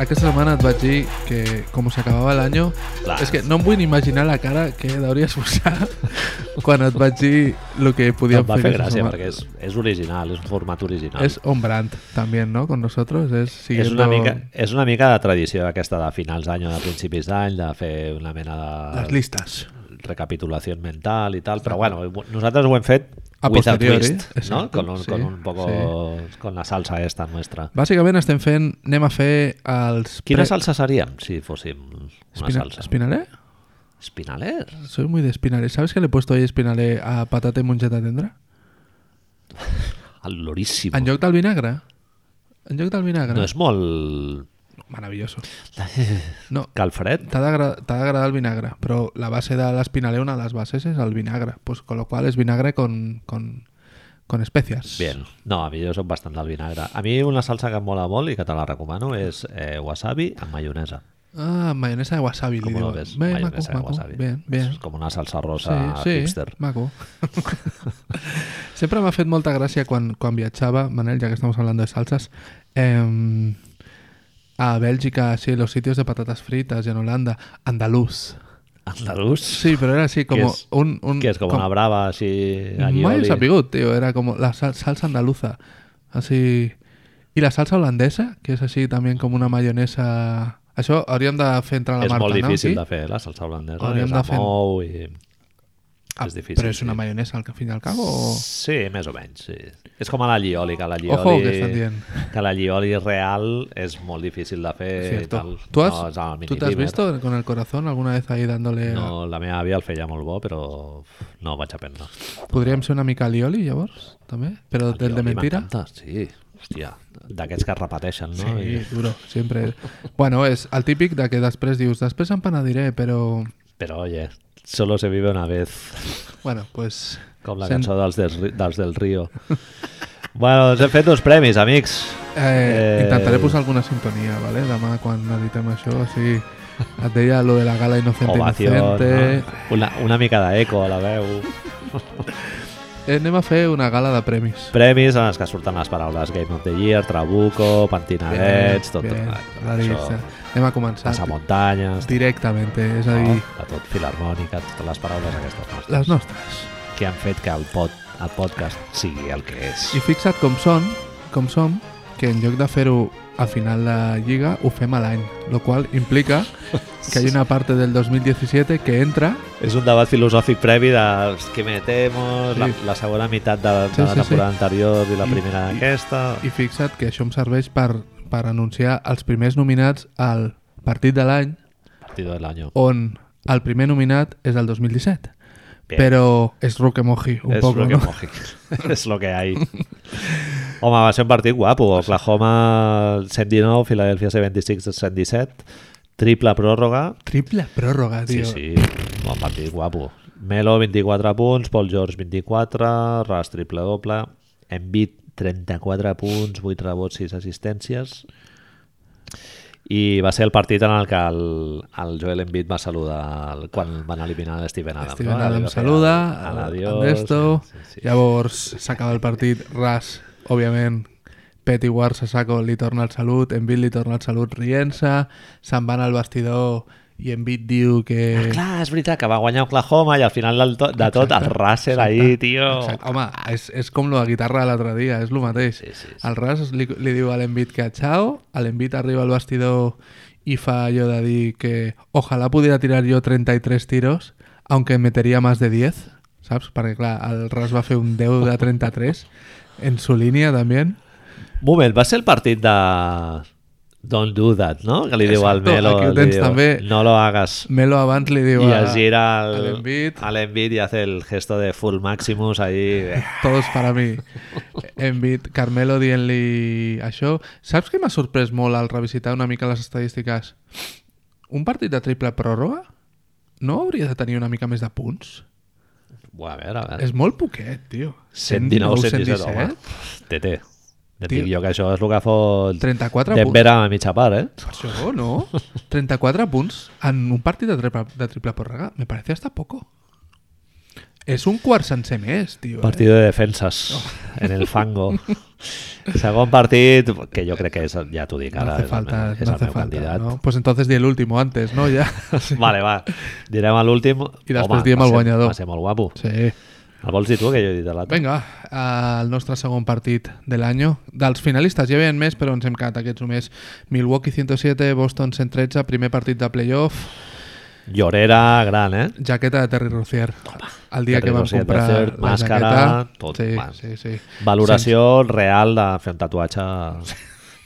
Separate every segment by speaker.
Speaker 1: aquesta setmana et vaig dir que com s'acabava l'any
Speaker 2: Clar.
Speaker 1: és que no em vull ni imaginar la cara que deuries posar quan et vaig dir el que podíem
Speaker 2: Em va
Speaker 1: fer
Speaker 2: fer
Speaker 1: aquesta
Speaker 2: gràcia
Speaker 1: setmana.
Speaker 2: perquè és, és original, és un format original.
Speaker 1: Es on brand también, ¿no? Con nosotros. Es,
Speaker 2: és
Speaker 1: siguiendo
Speaker 2: una, mica, és una mica de tradició aquesta de finals d'any o de principis d'any, de fer una mena de
Speaker 1: las listas.
Speaker 2: recapitulació mental i tal, però bueno, nosaltres ho hem fet
Speaker 1: A
Speaker 2: with a
Speaker 1: posteriori,
Speaker 2: twist, no?
Speaker 1: exacte,
Speaker 2: Con un,
Speaker 1: sí,
Speaker 2: con un poco, con la salsa esta nuestra.
Speaker 1: Bàsicament estem fent, anem a fer els...
Speaker 2: Quina
Speaker 1: pre-
Speaker 2: salsa seríem si fóssim una
Speaker 1: Espina-
Speaker 2: salsa?
Speaker 1: Espinaler?
Speaker 2: Espinaler?
Speaker 1: Soy muy de espinaler. ¿Sabes que le he puesto hoy espinaler a patata y mongeta tendra?
Speaker 2: El loríssim.
Speaker 1: En lloc del vinagre. En lloc del vinagre.
Speaker 2: No és molt
Speaker 1: Maravilloso. No,
Speaker 2: calfred?
Speaker 1: t'ha d'agra- t'ha d'agradar el vinagre, però la base de l'espinaler, una de las bases es el vinagre. Pues con lo cual es vinagre con, con, con especias.
Speaker 2: Bien. No, a mi jo soc bastant del vinagre. A mi una salsa que em mola molt i que te la recomano és eh, wasabi amb maionesa.
Speaker 1: Ah, mayonesa de wasabi, le
Speaker 2: Com ho
Speaker 1: digo.
Speaker 2: ves?
Speaker 1: Bé, maco,
Speaker 2: Maionesa de
Speaker 1: maco.
Speaker 2: wasabi.
Speaker 1: Bien, bien.
Speaker 2: És com una salsa rosa hipster.
Speaker 1: maco. Sempre m'ha fet molta gràcia quan, quan viatjava, Manel, ja que estamos hablando de salsas, em, a Bèlgica, sí, los sitios de patatas fritas, y en Holanda, andaluz.
Speaker 2: Andalús?
Speaker 1: Sí, pero era así como
Speaker 2: es-
Speaker 1: un... un
Speaker 2: Que és com,
Speaker 1: com-
Speaker 2: una brava així...
Speaker 1: Mai
Speaker 2: allioli.
Speaker 1: s'ha pigut, tío, era como la sal- salsa andaluza, así... Y la salsa holandesa, que es así también como una mayonesa... Això hauríem de fer entrar la
Speaker 2: és
Speaker 1: Marta,
Speaker 2: molt difícil
Speaker 1: no?
Speaker 2: de fer, la salsa holandesa.
Speaker 1: Hauríem
Speaker 2: és
Speaker 1: de
Speaker 2: de
Speaker 1: fer-
Speaker 2: fer... mou i...
Speaker 1: Ah,
Speaker 2: és difícil,
Speaker 1: Però és una
Speaker 2: sí.
Speaker 1: mayonesa, al fin i al cabo, o...
Speaker 2: Sí, més o menys, sí. És com a la llioli, que la llioli...
Speaker 1: Oh. Ojo, que estan dient.
Speaker 2: Que la llioli real és molt difícil de fer. i
Speaker 1: Cierto.
Speaker 2: eh, tal.
Speaker 1: ¿Tú, has,
Speaker 2: No, és eh? al
Speaker 1: ¿Tú te has
Speaker 2: mini-primer.
Speaker 1: visto con el corazón alguna vez ahí dándole... No.
Speaker 2: No, la meva àvia el feia molt bo, però no vaig aprendre.
Speaker 1: Podríem ser una mica Lioli, llavors, també? Però del de
Speaker 2: Alioli
Speaker 1: mentira?
Speaker 2: m'encanta, Sí, hòstia, d'aquests que es repeteixen, no?
Speaker 1: Sí, duro, sempre. Bueno, és el típic de que després dius, després em penediré, però...
Speaker 2: I... Però, oye, solo se vive una vez.
Speaker 1: Bueno, pues...
Speaker 2: Com la
Speaker 1: Sent-
Speaker 2: cançó dels, dels, ri- dels del Rio. bueno, ens hem fet dos premis, amics.
Speaker 1: Eh,
Speaker 2: Eh.
Speaker 1: Intentaré posar alguna sintonia, ¿vale? Demà, quan editem això, així... Et deia lo de la gala Inocente
Speaker 2: Ovació,
Speaker 1: Inocente...
Speaker 2: no? una, una mica d'eco a la veu.
Speaker 1: Eh, anem a fer una gala de premis.
Speaker 2: Premis en els que surten les paraules Game of the Year, Trabuco, Pentinadets, tot.
Speaker 1: Bien,
Speaker 2: tot
Speaker 1: la
Speaker 2: això,
Speaker 1: llista. Anem a començar
Speaker 2: Passamuntanyes,
Speaker 1: directament, és a dir,
Speaker 2: no? de tot, Filarmònica, totes les paraules aquestes nostres.
Speaker 1: les nostres.
Speaker 2: que han fet que el, pod, el podcast sigui el que és.
Speaker 1: I fixa't com són, com som, que en lloc de fer-ho a final de lliga, ho fem a l'any, lo qual implica que hay una parte del 2017 que entra,
Speaker 2: És un debat filosòfic previ de els que metemos,
Speaker 1: Sí.
Speaker 2: la, la segona meitat de, de
Speaker 1: Sí,
Speaker 2: sí, la
Speaker 1: sí,
Speaker 2: temporada sí. anterior i la
Speaker 1: I-
Speaker 2: primera
Speaker 1: i-
Speaker 2: d'aquesta.
Speaker 1: i fixa't que això em serveix per, per anunciar els primers nominats al partit de l'any,
Speaker 2: Partido del año.
Speaker 1: on el primer nominat és el 2017.
Speaker 2: Bien.
Speaker 1: Però és Roque Moji, un
Speaker 2: és
Speaker 1: poc,
Speaker 2: lo que
Speaker 1: no?
Speaker 2: moji. és lo que hay. Home, va ser un partit guapo. Oklahoma 119, Filadelfia 76, 117. Triple pròrroga.
Speaker 1: Triple pròrroga,
Speaker 2: Sí,
Speaker 1: tio.
Speaker 2: sí, bon partit guapo. Melo, 24 punts, Paul George, 24, Ras, triple doble, Embiid, 34 punts, 8 rebots, 6 assistències. I va ser el partit en el que el, el Joel Embiid va saludar el, quan van eliminar Steven Adams.
Speaker 1: Steven
Speaker 2: no?
Speaker 1: Adams
Speaker 2: Li va fer
Speaker 1: saluda, al-
Speaker 2: el-
Speaker 1: al
Speaker 2: l'adiós,
Speaker 1: Ernesto.
Speaker 2: sí, sí.
Speaker 1: Llavors s'acaba el partit, Ras, òbviament, Petty Ward se saco, li torna el salut, Embiid li torna el salut rient-se, se'n van al vestidor i Embiid diu que...
Speaker 2: Ah, Clar, és veritat que va guanyar Oklahoma i al final del to, de tot el Russell ahir, tio.
Speaker 1: Exacte. Home, és, és com la guitarra de l'altre dia, és el mateix.
Speaker 2: Sí, sí, sí.
Speaker 1: El Ras li, li diu a l'Envit que xao, l'Envit arriba al vestidor i fa allò de dir que ojalà pudiera tirar jo 33 tiros, aunque meteria más de 10, saps? Perquè clar, el Ras va fer un 10 de 33 en su línia també.
Speaker 2: Moment, va ser el partit de... Don't do that, no? Que li diu al
Speaker 1: Exacto,
Speaker 2: Melo,
Speaker 1: aquí ho
Speaker 2: li
Speaker 1: tens
Speaker 2: diu,
Speaker 1: també.
Speaker 2: no lo hagas.
Speaker 1: Melo abans li diu
Speaker 2: I
Speaker 1: a,
Speaker 2: es gira
Speaker 1: a
Speaker 2: el-
Speaker 1: l'Envit,
Speaker 2: a l'Envit i hace el gesto de full maximus ahí.
Speaker 1: Todos para mi. Envit, Carmelo dient-li això. Saps què m'ha sorprès molt al revisitar una mica les estadístiques? Un partit de triple pròrroga no hauria de tenir una mica més de punts?
Speaker 2: Buah, a veure, a veure.
Speaker 1: És molt poquet, tio.
Speaker 2: 119, 117,
Speaker 1: 117,
Speaker 2: home. TT. Et
Speaker 1: eh? Tio.
Speaker 2: dic jo que això és el que fot
Speaker 1: 34 punts.
Speaker 2: Denver a mitja part, eh?
Speaker 1: Per això, no? 34 punts en un partit de triple, de triple pròrroga me parece hasta poco. És un quart sencer més, tio. eh? Oh.
Speaker 2: Partido de defensas en el fango. Segon partit, que jo crec que és, ja t'ho dic
Speaker 1: no
Speaker 2: ara,
Speaker 1: hace
Speaker 2: és el
Speaker 1: falta,
Speaker 2: meu, és
Speaker 1: no
Speaker 2: el
Speaker 1: hace
Speaker 2: meu
Speaker 1: falta,
Speaker 2: candidat.
Speaker 1: ¿no? Pues entonces di el último antes, ¿no? Ya. Sí.
Speaker 2: Vale, va, direm a l'últim.
Speaker 1: I després
Speaker 2: Home,
Speaker 1: diem
Speaker 2: va
Speaker 1: el
Speaker 2: ser-
Speaker 1: guanyador.
Speaker 2: Va ser molt guapo.
Speaker 1: Sí.
Speaker 2: El vols dir tu, que jo he dit l'altre?
Speaker 1: Vinga, va, el nostre segon partit de l'any. Dels finalistes ja hi havia més, però ens hem quedat aquests només. Milwaukee 107, Boston 113, primer partit de playoff,
Speaker 2: Llorera gran, eh?
Speaker 1: jaqueta de Terry Rozier. El dia
Speaker 2: Terry
Speaker 1: que vam
Speaker 2: Rozier,
Speaker 1: comprar
Speaker 2: Rozier,
Speaker 1: la
Speaker 2: màscara,
Speaker 1: jaqueta.
Speaker 2: tot,
Speaker 1: sí,
Speaker 2: va.
Speaker 1: sí, sí.
Speaker 2: Valoració real de fer un tatuatge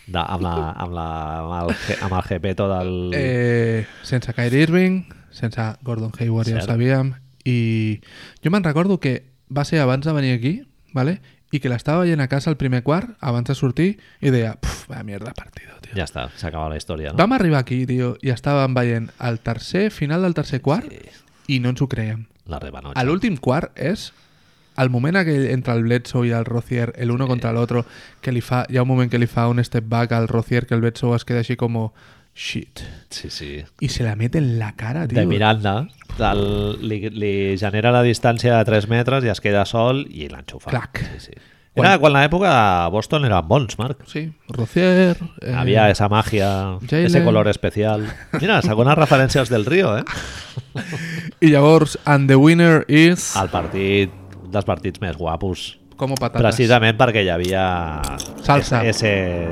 Speaker 2: de, amb, la, amb, la, amb, el, ge- amb el jepeto del...
Speaker 1: Eh, sense Kyrie Irving, sense Gordon Hayward, ja ho
Speaker 2: Cert.
Speaker 1: sabíem, i jo me'n recordo que va ser abans de venir aquí, vale? i que l'estava veient a casa el primer quart, abans de sortir, i deia, puf, va mierda de partido, tio.
Speaker 2: Ja està, s'acaba la història, no?
Speaker 1: Vam arribar aquí, tio, i estàvem veient el tercer, final del tercer quart, i no ens ho creiem.
Speaker 2: La rebanocha.
Speaker 1: A l'últim quart és el moment aquell entre el Bledsoe i el Rozier, el uno contra l'altre, que li fa, hi ha un moment que li fa un step back al Rozier, que el Bledsoe es queda així com shit.
Speaker 2: Sí, sí.
Speaker 1: Y se la mete en la cara, tío.
Speaker 2: De Miranda, del, li, li genera la distància de 3 metres i es queda sol i l'enxufa.
Speaker 1: Clac.
Speaker 2: Sí, sí. Era quan l'època de Boston eren bons, Marc.
Speaker 1: Sí, Rocier. eh,
Speaker 2: Havia esa màgia,
Speaker 1: Jalen.
Speaker 2: ese color especial. Mira, segona referències del Rio, eh?
Speaker 1: Y Javors, and the winner is.
Speaker 2: El partit, un dels partits més guapos.
Speaker 1: Como patatas.
Speaker 2: Precisament perquè hi havia...
Speaker 1: Salsa.
Speaker 2: es- Ese,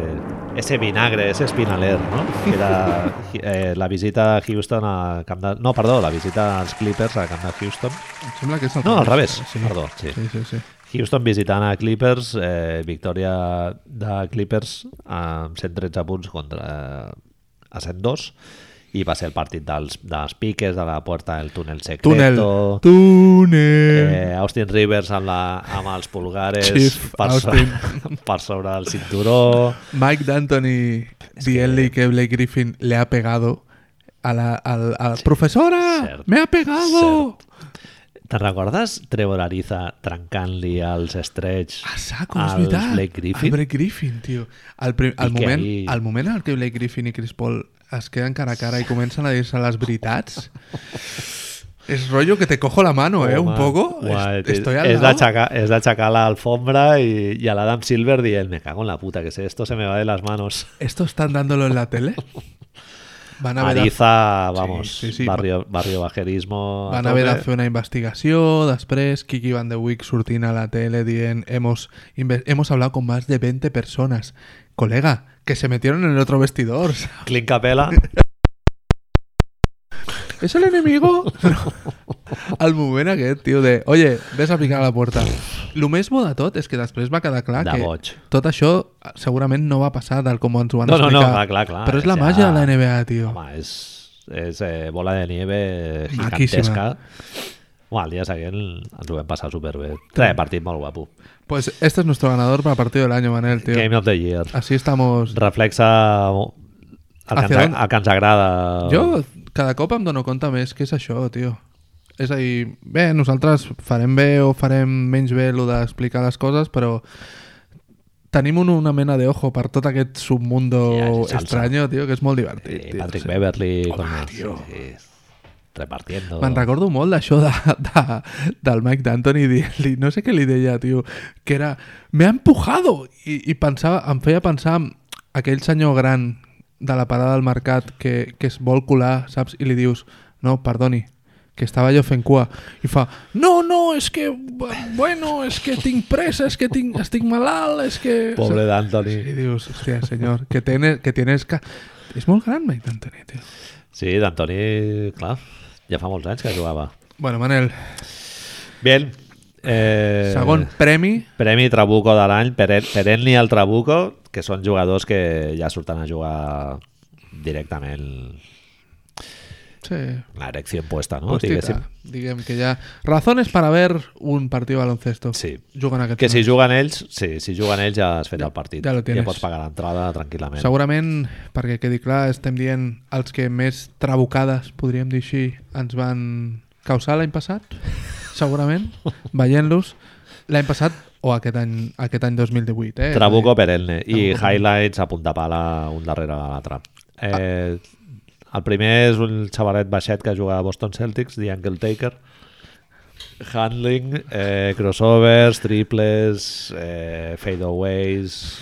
Speaker 2: ese vinagre, ese espinaler, no? Que era eh, la visita a Houston a Camp de... No, perdó, la visita als Clippers a Camp de Houston.
Speaker 1: Em sembla que és
Speaker 2: No, al revés, perdó, sí.
Speaker 1: Sí, sí, sí.
Speaker 2: Houston visitant a Clippers, eh, victòria de Clippers amb 113 punts contra eh, a 102 i va ser el partit dels, dels piques de la puerta del túnel secreto
Speaker 1: Túnel. Túnel.
Speaker 2: eh, Austin Rivers amb, la, amb els pulgares
Speaker 1: Chief
Speaker 2: per, so,
Speaker 1: Austin.
Speaker 2: per sobre el cinturó
Speaker 1: Mike D'Antoni dient-li que Blake Griffin le ha pegado a la, al- a la profesora.
Speaker 2: Cert.
Speaker 1: Me ha pegado.
Speaker 2: Te'n recordes Trevor Ariza trencant-li els estrets
Speaker 1: A Ah, saco, és
Speaker 2: als
Speaker 1: veritat. Ah,
Speaker 2: Blake Griffin?
Speaker 1: El Blake Griffin, tio. El, prim, el,
Speaker 2: I que
Speaker 1: moment,
Speaker 2: ahí-
Speaker 1: el moment en què Blake Griffin i Chris Paul es queden cara a cara i comencen a dir-se les veritats... És rotllo que te cojo la mano, eh, un
Speaker 2: Home,
Speaker 1: poco.
Speaker 2: uai,
Speaker 1: Es- Estoy al
Speaker 2: és
Speaker 1: lado.
Speaker 2: d'aixecar- És d'aixecar l'alfombra i, i a l'Adam Silver dient me cago en la puta, que sé, esto se me va de las manos.
Speaker 1: ¿Esto están dándolo en la tele? Van a ver a
Speaker 2: Ariza, vamos,
Speaker 1: sí, sí,
Speaker 2: barrio, barrio bajerismo. a
Speaker 1: Van haver de
Speaker 2: tope.
Speaker 1: fer una investigació, després Kiki Van de Wick sortint a la tele dient hemos, inve- hemos hablado con más de 20 personas. Colega, que se metieron en el otro vestidor.
Speaker 2: Clint Capela,
Speaker 1: ¿Es el enemigo? al moment aquest, tio, de oye, ves a picar a la puerta. Lo més bo de tot és que després va quedar clar
Speaker 2: de
Speaker 1: Ah, que
Speaker 2: boig.
Speaker 1: tot això ah, segurament no va passar tal com ens ho van
Speaker 2: No, no, no,
Speaker 1: explicar.
Speaker 2: clar, clar, clar.
Speaker 1: Però és la
Speaker 2: Ja-
Speaker 1: màgia de la NBA, tio.
Speaker 2: Home, és, és eh, bola de nieve
Speaker 1: Maquíssima.
Speaker 2: gigantesca. Uah, el dia següent ens ho vam passar superbé. Tres partit molt guapo.
Speaker 1: Pues este es nuestro ganador para partido del año, Manel, tío.
Speaker 2: Game of the Year.
Speaker 1: Así estamos
Speaker 2: Reflexa el que, ens,
Speaker 1: Hacia on-
Speaker 2: el que ens agrada.
Speaker 1: Jo cada cop em dono compte més que és això, tio. És a dir, bé, nosaltres farem bé o farem menys bé lo d'explicar les coses, però tenim un, una mena d'ojo per tot aquest
Speaker 2: Ja,
Speaker 1: submundo
Speaker 2: és salsa.
Speaker 1: estranyo, tio, que és molt divertit.
Speaker 2: Eh,
Speaker 1: tio,
Speaker 2: Patrick
Speaker 1: sí.
Speaker 2: Beverly con
Speaker 1: Home,
Speaker 2: los-
Speaker 1: tio.
Speaker 2: sí, sí. repartiendo.
Speaker 1: Me'n recordo molt d'això de, de, del Mike D'Antoni dient-li, no sé què li deia, tio, que era, me ha empujado! I, i pensava, em feia pensar en aquell senyor gran de la parada del mercat que, que es vol colar, saps? I li dius, no, perdoni, que estava jo fent cua. I fa, no, no, és que, bueno, és que tinc pressa, és que tinc, estic malalt, és que...
Speaker 2: Pobre
Speaker 1: I
Speaker 2: d'Anthony.
Speaker 1: dius, hòstia, senyor, que tienes, que tienes que... És molt gran, Mike D'Antoni, tio.
Speaker 2: Sí, d'Anthony, clar, ja fa molts anys que jugava.
Speaker 1: Bueno, Manel,
Speaker 2: Bien. Eh,
Speaker 1: segon premi
Speaker 2: Premi Trabuco de l'any, Peren- Perenni al Trabuco, que són jugadors que ja surten a jugar directament
Speaker 1: Sí.
Speaker 2: la erección puesta, no?
Speaker 1: Pues
Speaker 2: Diguéssim.
Speaker 1: tira, diguem que ya Razones para ver un partido de baloncesto.
Speaker 2: Sí.
Speaker 1: Juguen aquest
Speaker 2: Que si
Speaker 1: hores.
Speaker 2: juguen ells, sí, si juguen ells ja has fet el partit.
Speaker 1: ja lo tienes.
Speaker 2: ja pots pagar l'entrada tranquil·lament.
Speaker 1: Segurament, perquè quedi clar, estem dient els que més trabucades, podríem dir així, ens van causar l'any passat, segurament, veient-los, l'any passat o aquest any, aquest any 2018. Eh?
Speaker 2: Trabuco perenne i
Speaker 1: Trabuco perenne.
Speaker 2: highlights a punta pala un darrere de l'altre.
Speaker 1: Ah.
Speaker 2: Eh, el primer és un xavalet baixet que juga a Boston Celtics, The Uncle Taker. Handling, eh, crossovers, triples, eh, fadeaways,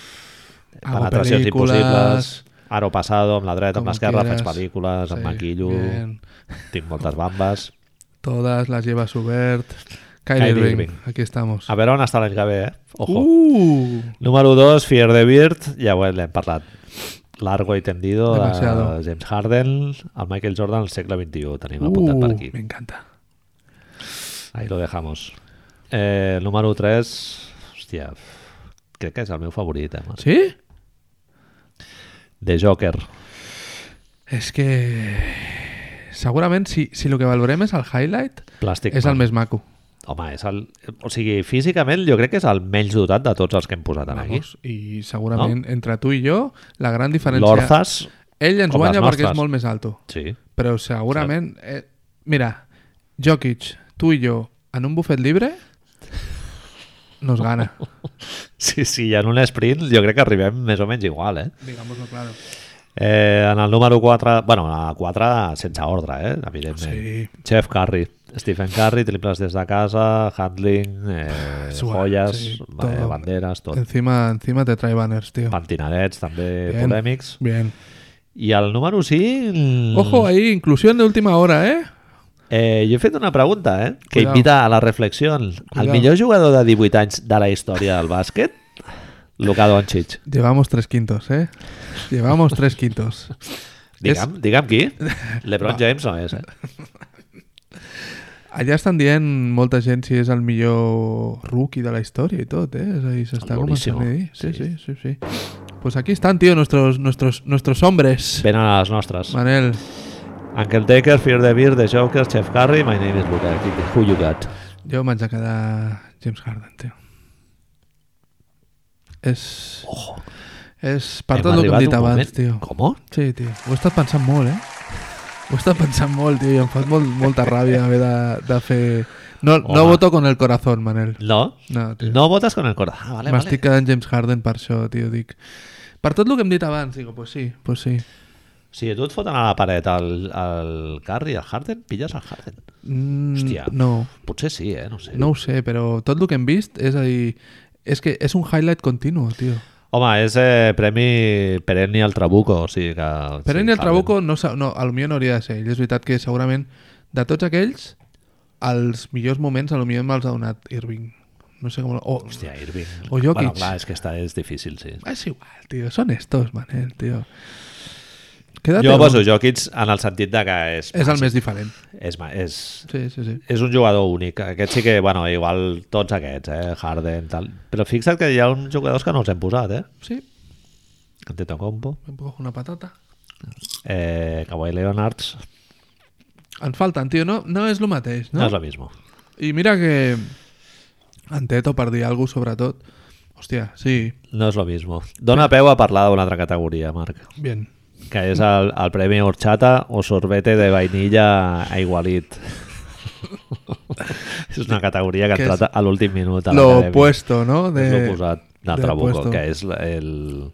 Speaker 1: Hago
Speaker 2: penetracions
Speaker 1: pel·lícules,
Speaker 2: impossibles, Aro Passado, amb la dreta,
Speaker 1: com
Speaker 2: amb l'esquerra, faig
Speaker 1: quieras.
Speaker 2: pel·lícules, em
Speaker 1: Sí,
Speaker 2: maquillo,
Speaker 1: bien.
Speaker 2: tinc moltes bambes.
Speaker 1: Todas las lleva Subert. Kyrie,
Speaker 2: Kyrie
Speaker 1: Irving.
Speaker 2: Irving.
Speaker 1: Aquí estamos.
Speaker 2: A veure on està l'any que ve, eh? Ojo.
Speaker 1: Uh,
Speaker 2: Número 2, Fear the Beard, ja ho l'hem parlat. Largo i tendido
Speaker 1: Demasiado.
Speaker 2: de James Harden, el Michael Jordan al segle XXI, tenim apuntat per
Speaker 1: uh,
Speaker 2: aquí.
Speaker 1: me encanta.
Speaker 2: Ahí lo dejamos. Eh, número 3, hòstia, crec que és el meu favorit, eh? Sí.
Speaker 1: ¿Sí?
Speaker 2: The Joker.
Speaker 1: És que... Segurament, si, si el que valorem és el highlight,
Speaker 2: Plàstic
Speaker 1: és el
Speaker 2: Man.
Speaker 1: més maco.
Speaker 2: Home, és el... O sigui, físicament jo crec que és el menys dotat de tots els que hem posat en aquí.
Speaker 1: Vamos, I segurament, entre tu i jo, la gran diferència...
Speaker 2: L'Orzas,
Speaker 1: Ell ens
Speaker 2: com les
Speaker 1: guanya perquè és
Speaker 2: nostres.
Speaker 1: molt més alto.
Speaker 2: sí.
Speaker 1: Però segurament... Eh, mira, Jokic, tu i jo, en un bufet libre, nos gana.
Speaker 2: Sí, sí, i en un sprint jo crec que arribem més o menys igual, eh?
Speaker 1: Digámoslo claro.
Speaker 2: eh en el número 4, bueno, a 4 sense ordre, eh? Evidentment.
Speaker 1: Sí.
Speaker 2: Chef Curry, Stephen Curry, triples des de casa, handling, eh,
Speaker 1: Suar,
Speaker 2: joies,
Speaker 1: sí,
Speaker 2: eh,
Speaker 1: todo.
Speaker 2: banderes, tot.
Speaker 1: Encima, encima te trae banners, tío.
Speaker 2: Pentinadets també
Speaker 1: Bien.
Speaker 2: polèmics.
Speaker 1: Bien.
Speaker 2: I el número 5...
Speaker 1: Ojo ahí, inclusión de última hora, ¿eh?
Speaker 2: Eh, jo he fet una pregunta, eh? Que
Speaker 1: Cuidao.
Speaker 2: invita a la reflexió. El
Speaker 1: Cuidao.
Speaker 2: millor jugador de 18 anys de la història del bàsquet? Luka Doncic.
Speaker 1: Llevamos tres quintos, ¿eh? Llevamos tres quintos.
Speaker 2: Digue'm, digue'm qui. L'Ebron James no és, eh?
Speaker 1: Allà estan dient molta gent si és el millor rookie de la història i tot, eh? És a dir, s'està
Speaker 2: Durísimo.
Speaker 1: començant a dir. Sí, sí, sí, sí. Pues aquí están, tío, nuestros, nuestros, nuestros hombres.
Speaker 2: Venen a les nostres.
Speaker 1: Manel,
Speaker 2: Uncle Taker, Fear the Beer, The Joker, Chef Curry, My Name is Luka. Who you got?
Speaker 1: jo m'haig de quedar James Harden, tio. És... Ojo. És per
Speaker 2: Hem
Speaker 1: tot el que
Speaker 2: arribat
Speaker 1: hem
Speaker 2: un
Speaker 1: dit abans,
Speaker 2: moment-
Speaker 1: tio.
Speaker 2: Com?
Speaker 1: Sí, tio. Ho he estat pensant molt, eh? Ho he estat pensant molt, tio, i em fa molt, molta ràbia haver de, de fer... No, no
Speaker 2: Home.
Speaker 1: voto con el corazón, Manel.
Speaker 2: No?
Speaker 1: No, tio.
Speaker 2: No votes con el cor. Ah, vale, vale.
Speaker 1: M'estic quedant James Harden per això, tio, dic... Per tot el que hem dit abans, digo, pues sí, pues sí.
Speaker 2: Si a tu et foten a la paret el, el Curry, el Harden, pilles el Harden.
Speaker 1: Mm,
Speaker 2: Hòstia.
Speaker 1: No,
Speaker 2: Potser sí, eh? No sé.
Speaker 1: no ho sé, però tot el que hem vist és a dir... És que és un highlight continu, tio.
Speaker 2: Home, és eh, premi perenni al Trabuco, o sigui que...
Speaker 1: Però en
Speaker 2: sí,
Speaker 1: el
Speaker 2: Harden.
Speaker 1: Trabuco no, sa- no, potser no hauria de ser ell. És veritat que segurament de tots aquells els millors moments potser me'ls ha donat Irving. No sé com... O,
Speaker 2: Hòstia, Irving.
Speaker 1: O Jokic.
Speaker 2: Bueno, clar, és que esta és difícil, sí.
Speaker 1: És igual, tio. Són estos, Manel, tio. Quédate
Speaker 2: jo
Speaker 1: con-
Speaker 2: poso Jokic en el sentit de que és...
Speaker 1: És el més diferent.
Speaker 2: És, ma- és,
Speaker 1: Sí, sí, sí.
Speaker 2: és un jugador únic. Aquest sí que, bueno, igual tots aquests, eh? Harden, tal. Però fixa't que hi ha uns jugadors que no els hem posat, eh?
Speaker 1: Sí,
Speaker 2: Antetokounmpo,
Speaker 1: em cojo una patata.
Speaker 2: eh, Kawhi Leonard,
Speaker 1: Ens falten, tio. No, no és el mateix,
Speaker 2: no,
Speaker 1: no?
Speaker 2: és el mismo.
Speaker 1: I mira que... En Teto, per dir alguna cosa, sobretot... Hòstia, sí,
Speaker 2: No és lo mismo. Dona peu a parlar d'una altra categoria, Marc,
Speaker 1: bien.
Speaker 2: que és el, el Premi Horchata o Sorbete de Vainilla a Igualit. és una categoria que ha
Speaker 1: Que és
Speaker 2: entrat a l'últim minut. a
Speaker 1: Lo
Speaker 2: l'acadèmia.
Speaker 1: Pues opuesto, no?
Speaker 2: de...
Speaker 1: De...
Speaker 2: l'oposat del
Speaker 1: de
Speaker 2: Trabuco,
Speaker 1: puesto.
Speaker 2: que és l- el,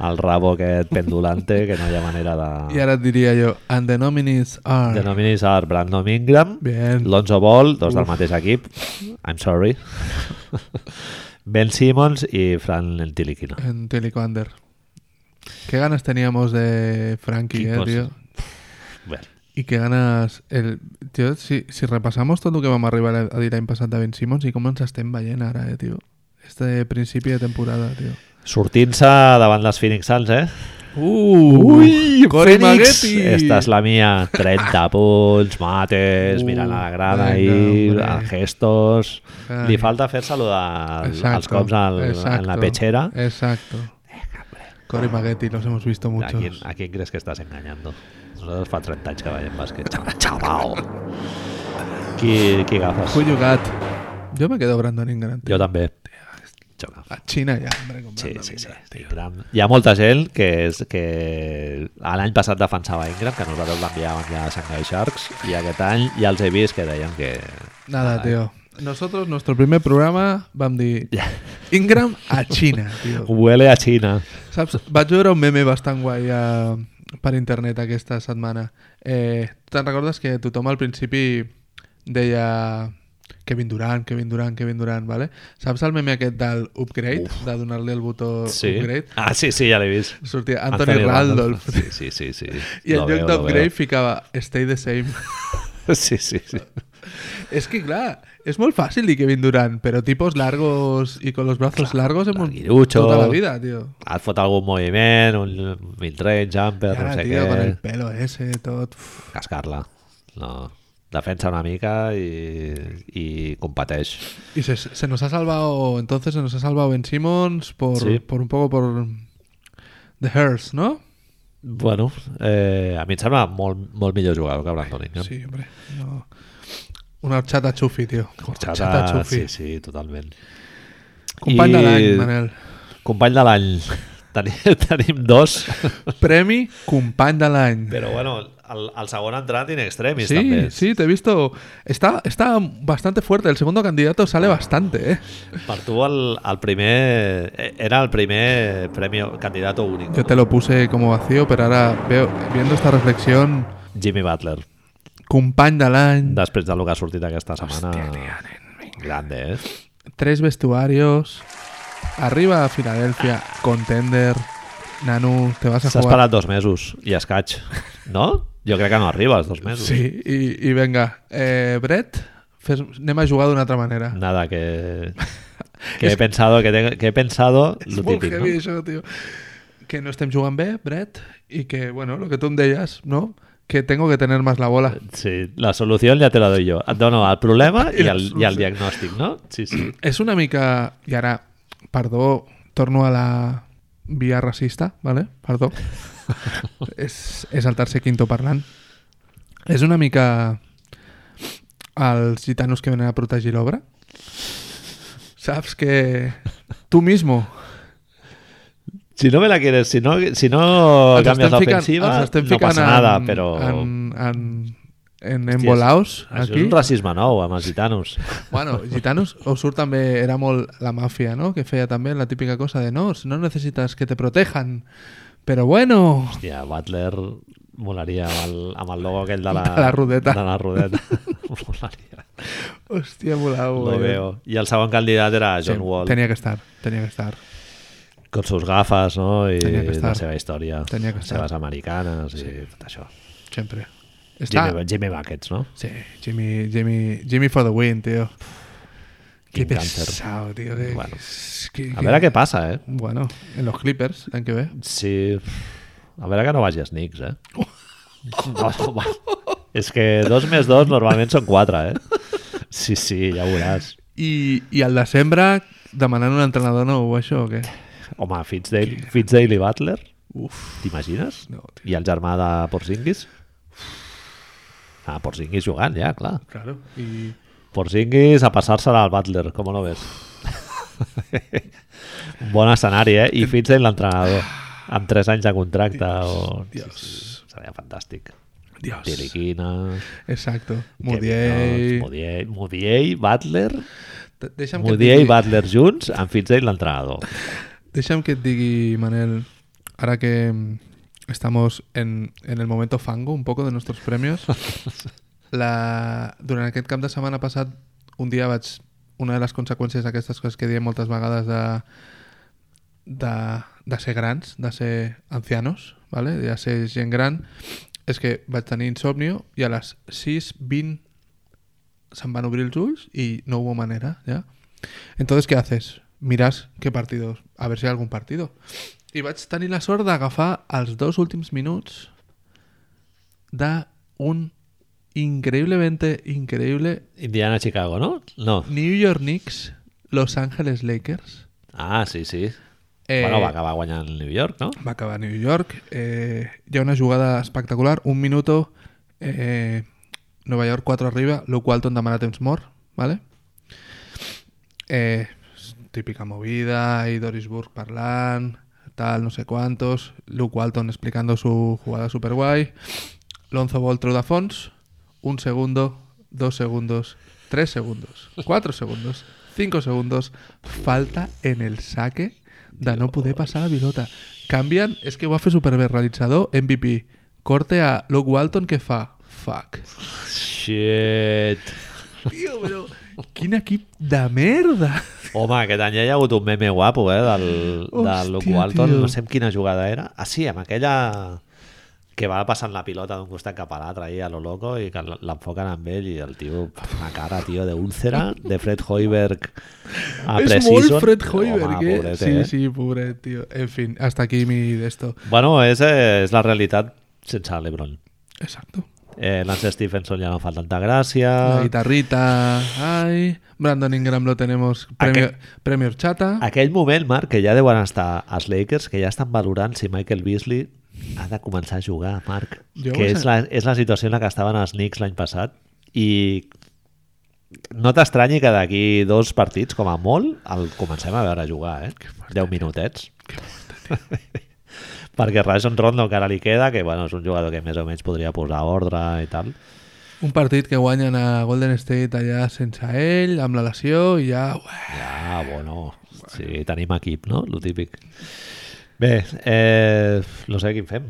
Speaker 2: el rabo aquest pendulante que no hi ha manera de...
Speaker 1: I ara et diria jo, and the nominees are...
Speaker 2: De nominis a Brandon Ingram,
Speaker 1: Bien.
Speaker 2: Lonzo Ball, dos del mateix equip, I'm sorry, Ben Simmons i Fran Tiliquina.
Speaker 1: En Telecoander. Qué ganas teníamos de Frankie, eh,
Speaker 2: Equipos.
Speaker 1: tío.
Speaker 2: Bé,
Speaker 1: Y qué ganas... El... Tío, si, si repasamos tot el que vam arribar a dir l'any passat de Ben Simmons i com ens estem veient ara, eh, tio. Este principi de temporada, tio.
Speaker 2: sortint-se davant les Phoenix Suns, eh?
Speaker 1: Uh, Cory Maggetti!
Speaker 2: Esta és la mia. 30 punts, mates,
Speaker 1: Uh,
Speaker 2: mirant a la grada
Speaker 1: venga,
Speaker 2: i
Speaker 1: hombre.
Speaker 2: a gestos...
Speaker 1: Ai.
Speaker 2: Li falta fer-se-lo de- als
Speaker 1: Exacto,
Speaker 2: cops al, en la
Speaker 1: exacto,
Speaker 2: petxera.
Speaker 1: Exacto. Cory Maggetti, los hemos visto
Speaker 2: ¿A quién,
Speaker 1: muchos.
Speaker 2: ¿A quién crees que estás engañando? Nosotros para 30 anys que veiem bàsquet. Chaval, chaval! Qui, qui agafes?
Speaker 1: Who you got? Yo me quedo Brandon Ingram. tío.
Speaker 2: Jo també. Jo agafo.
Speaker 1: A China ya, hombre. con
Speaker 2: Sí,
Speaker 1: Brandon
Speaker 2: sí, sí.
Speaker 1: Ingram, tío.
Speaker 2: Ingram. Hi ha molta gent que, és, que l'any passat defensava Ingram, que nosaltres l'enviàvem ja a Shanghai Sharks, i aquest any ja els he vist que deien que...
Speaker 1: Nada, tío. Nosotros, nuestro primer programa, vam dir Ingram a Xina, tio.
Speaker 2: Huele a Xina.
Speaker 1: Saps? Vaig veure un meme bastant guai a, per internet aquesta setmana. Eh, Te'n recordes que tothom al principi deia Kevin Durant, Kevin Durant, Kevin Durant, vale? Saps el meme aquest del upgrade, de donar-li el botó
Speaker 2: Sí.
Speaker 1: upgrade?
Speaker 2: Ah, sí, sí, ja l'he vist.
Speaker 1: Sortia Anthony, Randolph.
Speaker 2: Sí, sí, sí. sí.
Speaker 1: I en
Speaker 2: Lo
Speaker 1: lloc
Speaker 2: veo, lo
Speaker 1: d'upgrade ficava stay the same.
Speaker 2: veo. Sí, sí, sí.
Speaker 1: es que, clar, és molt fàcil dir Kevin Durant, però tipos largos i con los brazos largos hemos
Speaker 2: larguirucho.
Speaker 1: tota la vida, tío.
Speaker 2: Et fot algun moviment, un mid-range,
Speaker 1: I
Speaker 2: jumper,
Speaker 1: ara,
Speaker 2: no sé
Speaker 1: tío, con
Speaker 2: què.
Speaker 1: el pelo ese, tot... Uf.
Speaker 2: Cascar-la. No. Defensa una mica i, i competeix.
Speaker 1: Y se, se nos ha salvado, entonces se nos ha salvado Ben Simmons por,
Speaker 2: Sí.
Speaker 1: por un poco por The Hearse, ¿no?
Speaker 2: Bueno, eh, a mi em sembla molt, molt millor jugador que Brandon Ingram.
Speaker 1: Sí, hombre. no. Una horchata chufi, tío.
Speaker 2: Horchata, sí, sí, totalment.
Speaker 1: Company
Speaker 2: I-
Speaker 1: de l'any, Manel.
Speaker 2: Company de l'any. Tenim, tenim dos,
Speaker 1: Premi company de l'any.
Speaker 2: però bueno, el, el segon ha entrat in extremis
Speaker 1: Sí,
Speaker 2: també.
Speaker 1: sí, te he visto. Está, está bastante fuerte. El segundo candidato
Speaker 2: Ah.
Speaker 1: sale bastante, ¿eh?
Speaker 2: Per tu el, el primer eh, era el primer premi candidat únic.
Speaker 1: Yo te lo puse como vacío, pero ahora veo, viendo esta reflexión,
Speaker 2: Jimmy Butler,
Speaker 1: company de l'any,
Speaker 2: després del que ha sortit aquesta setmana. grande, eh?
Speaker 1: tres vestuarios, arriba a Filadelfia, contender, Nanu, te vas a
Speaker 2: S'ha
Speaker 1: jugar.
Speaker 2: esperat dos mesos i escaig, no? Jo crec que no arriba als dos mesos.
Speaker 1: Sí, y, y venga, eh, Brett, fes, anem a jugar d'una altra manera.
Speaker 2: Nada, que, que he pensado, que, tengo- que he pensado
Speaker 1: És
Speaker 2: lo
Speaker 1: molt
Speaker 2: típico.
Speaker 1: heavy això, tio. Que no estem jugant bé, Brett, i que, bueno, lo que tu em deies, no? Que tengo que tener más la bola.
Speaker 2: Sí, la solución ya te la doy yo. Et dono el problema
Speaker 1: I
Speaker 2: i
Speaker 1: la
Speaker 2: el, i el diagnòstic, no? Sí, sí.
Speaker 1: És una mica... I ara, perdó, torno a la via racista, ¿vale? Perdó. és, és el tercer quinto parlant. És una mica els gitanos que venen a protegir l'obra. Saps que tu mismo
Speaker 2: Si no me la quieres, si no, si no
Speaker 1: ens
Speaker 2: Oh, canvies
Speaker 1: estem ficant-
Speaker 2: l'ofensiva,
Speaker 1: ens estem
Speaker 2: no
Speaker 1: ficant
Speaker 2: passa nada,
Speaker 1: en,
Speaker 2: però...
Speaker 1: En, en, en embolaos,
Speaker 2: Això
Speaker 1: aquí.
Speaker 2: és un racisme nou amb els gitanos.
Speaker 1: Bueno, gitanos, o sur també era molt la màfia, no? Que feia també la típica cosa de no, no necessites que te protejan, però bueno...
Speaker 2: Hòstia, Butler molaria amb el, amb el logo aquell de la,
Speaker 1: De la rodeta.
Speaker 2: De la rodeta. molaria.
Speaker 1: Hòstia, voleu. eh?
Speaker 2: Lo veo. I el segon candidat era John Wall,
Speaker 1: Tenia que estar, tenia que estar.
Speaker 2: amb els seus gafes no? i
Speaker 1: Tenia que estar.
Speaker 2: la seva història,
Speaker 1: Tenia que
Speaker 2: les seves americanes i tot això.
Speaker 1: Sempre. Està...
Speaker 2: Jimmy, Jimmy Buckets, no?
Speaker 1: Sí, Jimmy, Jimmy, Jimmy for the win, tío. Qué
Speaker 2: Quin càncer.
Speaker 1: pesado, tío. Que,
Speaker 2: Bueno.
Speaker 1: que-
Speaker 2: A veure què passa, eh?
Speaker 1: Bueno, en los Clippers, l'any que ve.
Speaker 2: Sí. A veure que no vagi als Knicks, eh?
Speaker 1: Oh.
Speaker 2: No, home. És que dos més dos normalment són quatre, eh? Sí, sí, ja ho veuràs.
Speaker 1: I, i al desembre demanant un entrenador nou o això o què?
Speaker 2: Home, Fitzdale, Fitzdale i Butler,
Speaker 1: Uf,
Speaker 2: t'imagines?
Speaker 1: no, tio.
Speaker 2: I el germà de Porzingis? Ah, Porzingis jugant, ja, clar.
Speaker 1: Claro. I...
Speaker 2: Porzingis a passar-se-la al Butler, com no ves? Un bon escenari, eh? I Fitzdale l'entrenador, amb tres anys de contracte. O... Sí,
Speaker 1: Dios.
Speaker 2: sí, seria fantàstic.
Speaker 1: Dios.
Speaker 2: Tiliquina...
Speaker 1: Exacto.
Speaker 2: Kevin
Speaker 1: Mudiei.
Speaker 2: Knox, Mudiei, Mudiei, Butler,
Speaker 1: Te- Deixa'm que, et
Speaker 2: Mudiei i
Speaker 1: digui,
Speaker 2: Butler junts, amb Fitzdale l'entrenador.
Speaker 1: deixa'm que et digui, Manel, ahora que mm, estamos en, en el momento fango un poco de nuestros premios, la, durant aquest cap de setmana passat, un dia vaig... Una de les conseqüències d'aquestes coses que diem moltes vegades de, de, de ser grans, de ser ancianos, ¿vale? de ser gent gran, és que vaig tenir insomnio i a les 6.20 se'm van obrir els ulls i no hubo manera, ja. Entonces, ¿qué haces? Miras qué partidos, a ver si hi ha algun partido. I vaig tenir la sort d'agafar els dos últims minuts d'un increïblement increïble
Speaker 2: Indiana, Chicago, no? No.
Speaker 1: New York Knicks, Los Angeles Lakers.
Speaker 2: Ah, sí, sí. Eh... Bueno, va acabar guanyant el New York, no?
Speaker 1: Va acabar a New York. Eh, hi ha una jugada espectacular. Un minuto. Eh, Nova York 4 arriba, lo qual t'on demana temps mort. ¿vale? Eh, típica movida, i Doris Burke parlant, tal, no sé cuántos. Luke Walton explicando su jugada super guay. Lonzo Ball treu de fons. Un segundo, dos segundos, tres segundos, cuatro segundos, cinco segundos. Falta en el saque de no poder pasar la pilota. Canvien, és que ho va fer superbé, realitzador, MVP. Corte a Luke Walton que fa fuck.
Speaker 2: Shit.
Speaker 1: Tio, però Quin equip de merda!
Speaker 2: Home, aquest any ja hi ha hagut un meme guapo, eh, del,
Speaker 1: Hòstia,
Speaker 2: del Luke Walton,
Speaker 1: tio.
Speaker 2: no sé amb quina jugada era. Ah, sí, amb aquella que va passant la pilota d'un costat cap a l'altre ahí a lo loco i que l- l'enfoquen amb ell i el tio fa una cara, tio, d'úlcera de Fred Hoiberg a
Speaker 1: és
Speaker 2: preseason.
Speaker 1: molt Fred Hoiberg,
Speaker 2: Home,
Speaker 1: eh?
Speaker 2: pobret,
Speaker 1: sí,
Speaker 2: eh?
Speaker 1: sí, pobret, tio. En fin, hasta aquí mi de esto.
Speaker 2: Bueno, és, eh, és la realitat sense l'Ebron.
Speaker 1: Exacto.
Speaker 2: Eh, Lance Stephenson ja no fa tanta gràcia.
Speaker 1: La guitarrita. Ay. Brandon Ingram lo tenemos. Premio, premio Chata.
Speaker 2: Aquell moment, Marc, que ja deuen estar els Lakers, que ja estan valorant si Michael Beasley ha de començar a jugar, Marc.
Speaker 1: Jo
Speaker 2: que
Speaker 1: ho
Speaker 2: és
Speaker 1: sé.
Speaker 2: la, és la situació en la que estaven els Knicks l'any passat. I no t'estranyi que d'aquí dos partits, com a molt, el comencem a veure jugar, eh? Deu minutets. Perquè Rajon Rondo encara li queda, que bueno, és un jugador que més o menys podria posar ordre i tal.
Speaker 1: Un partit que guanyen a Golden State allà sense ell, amb la lesió, i ja... ué.
Speaker 2: Ah, bueno, sí, tenim equip, no? Lo típic. Bé, eh, no sé quin fem.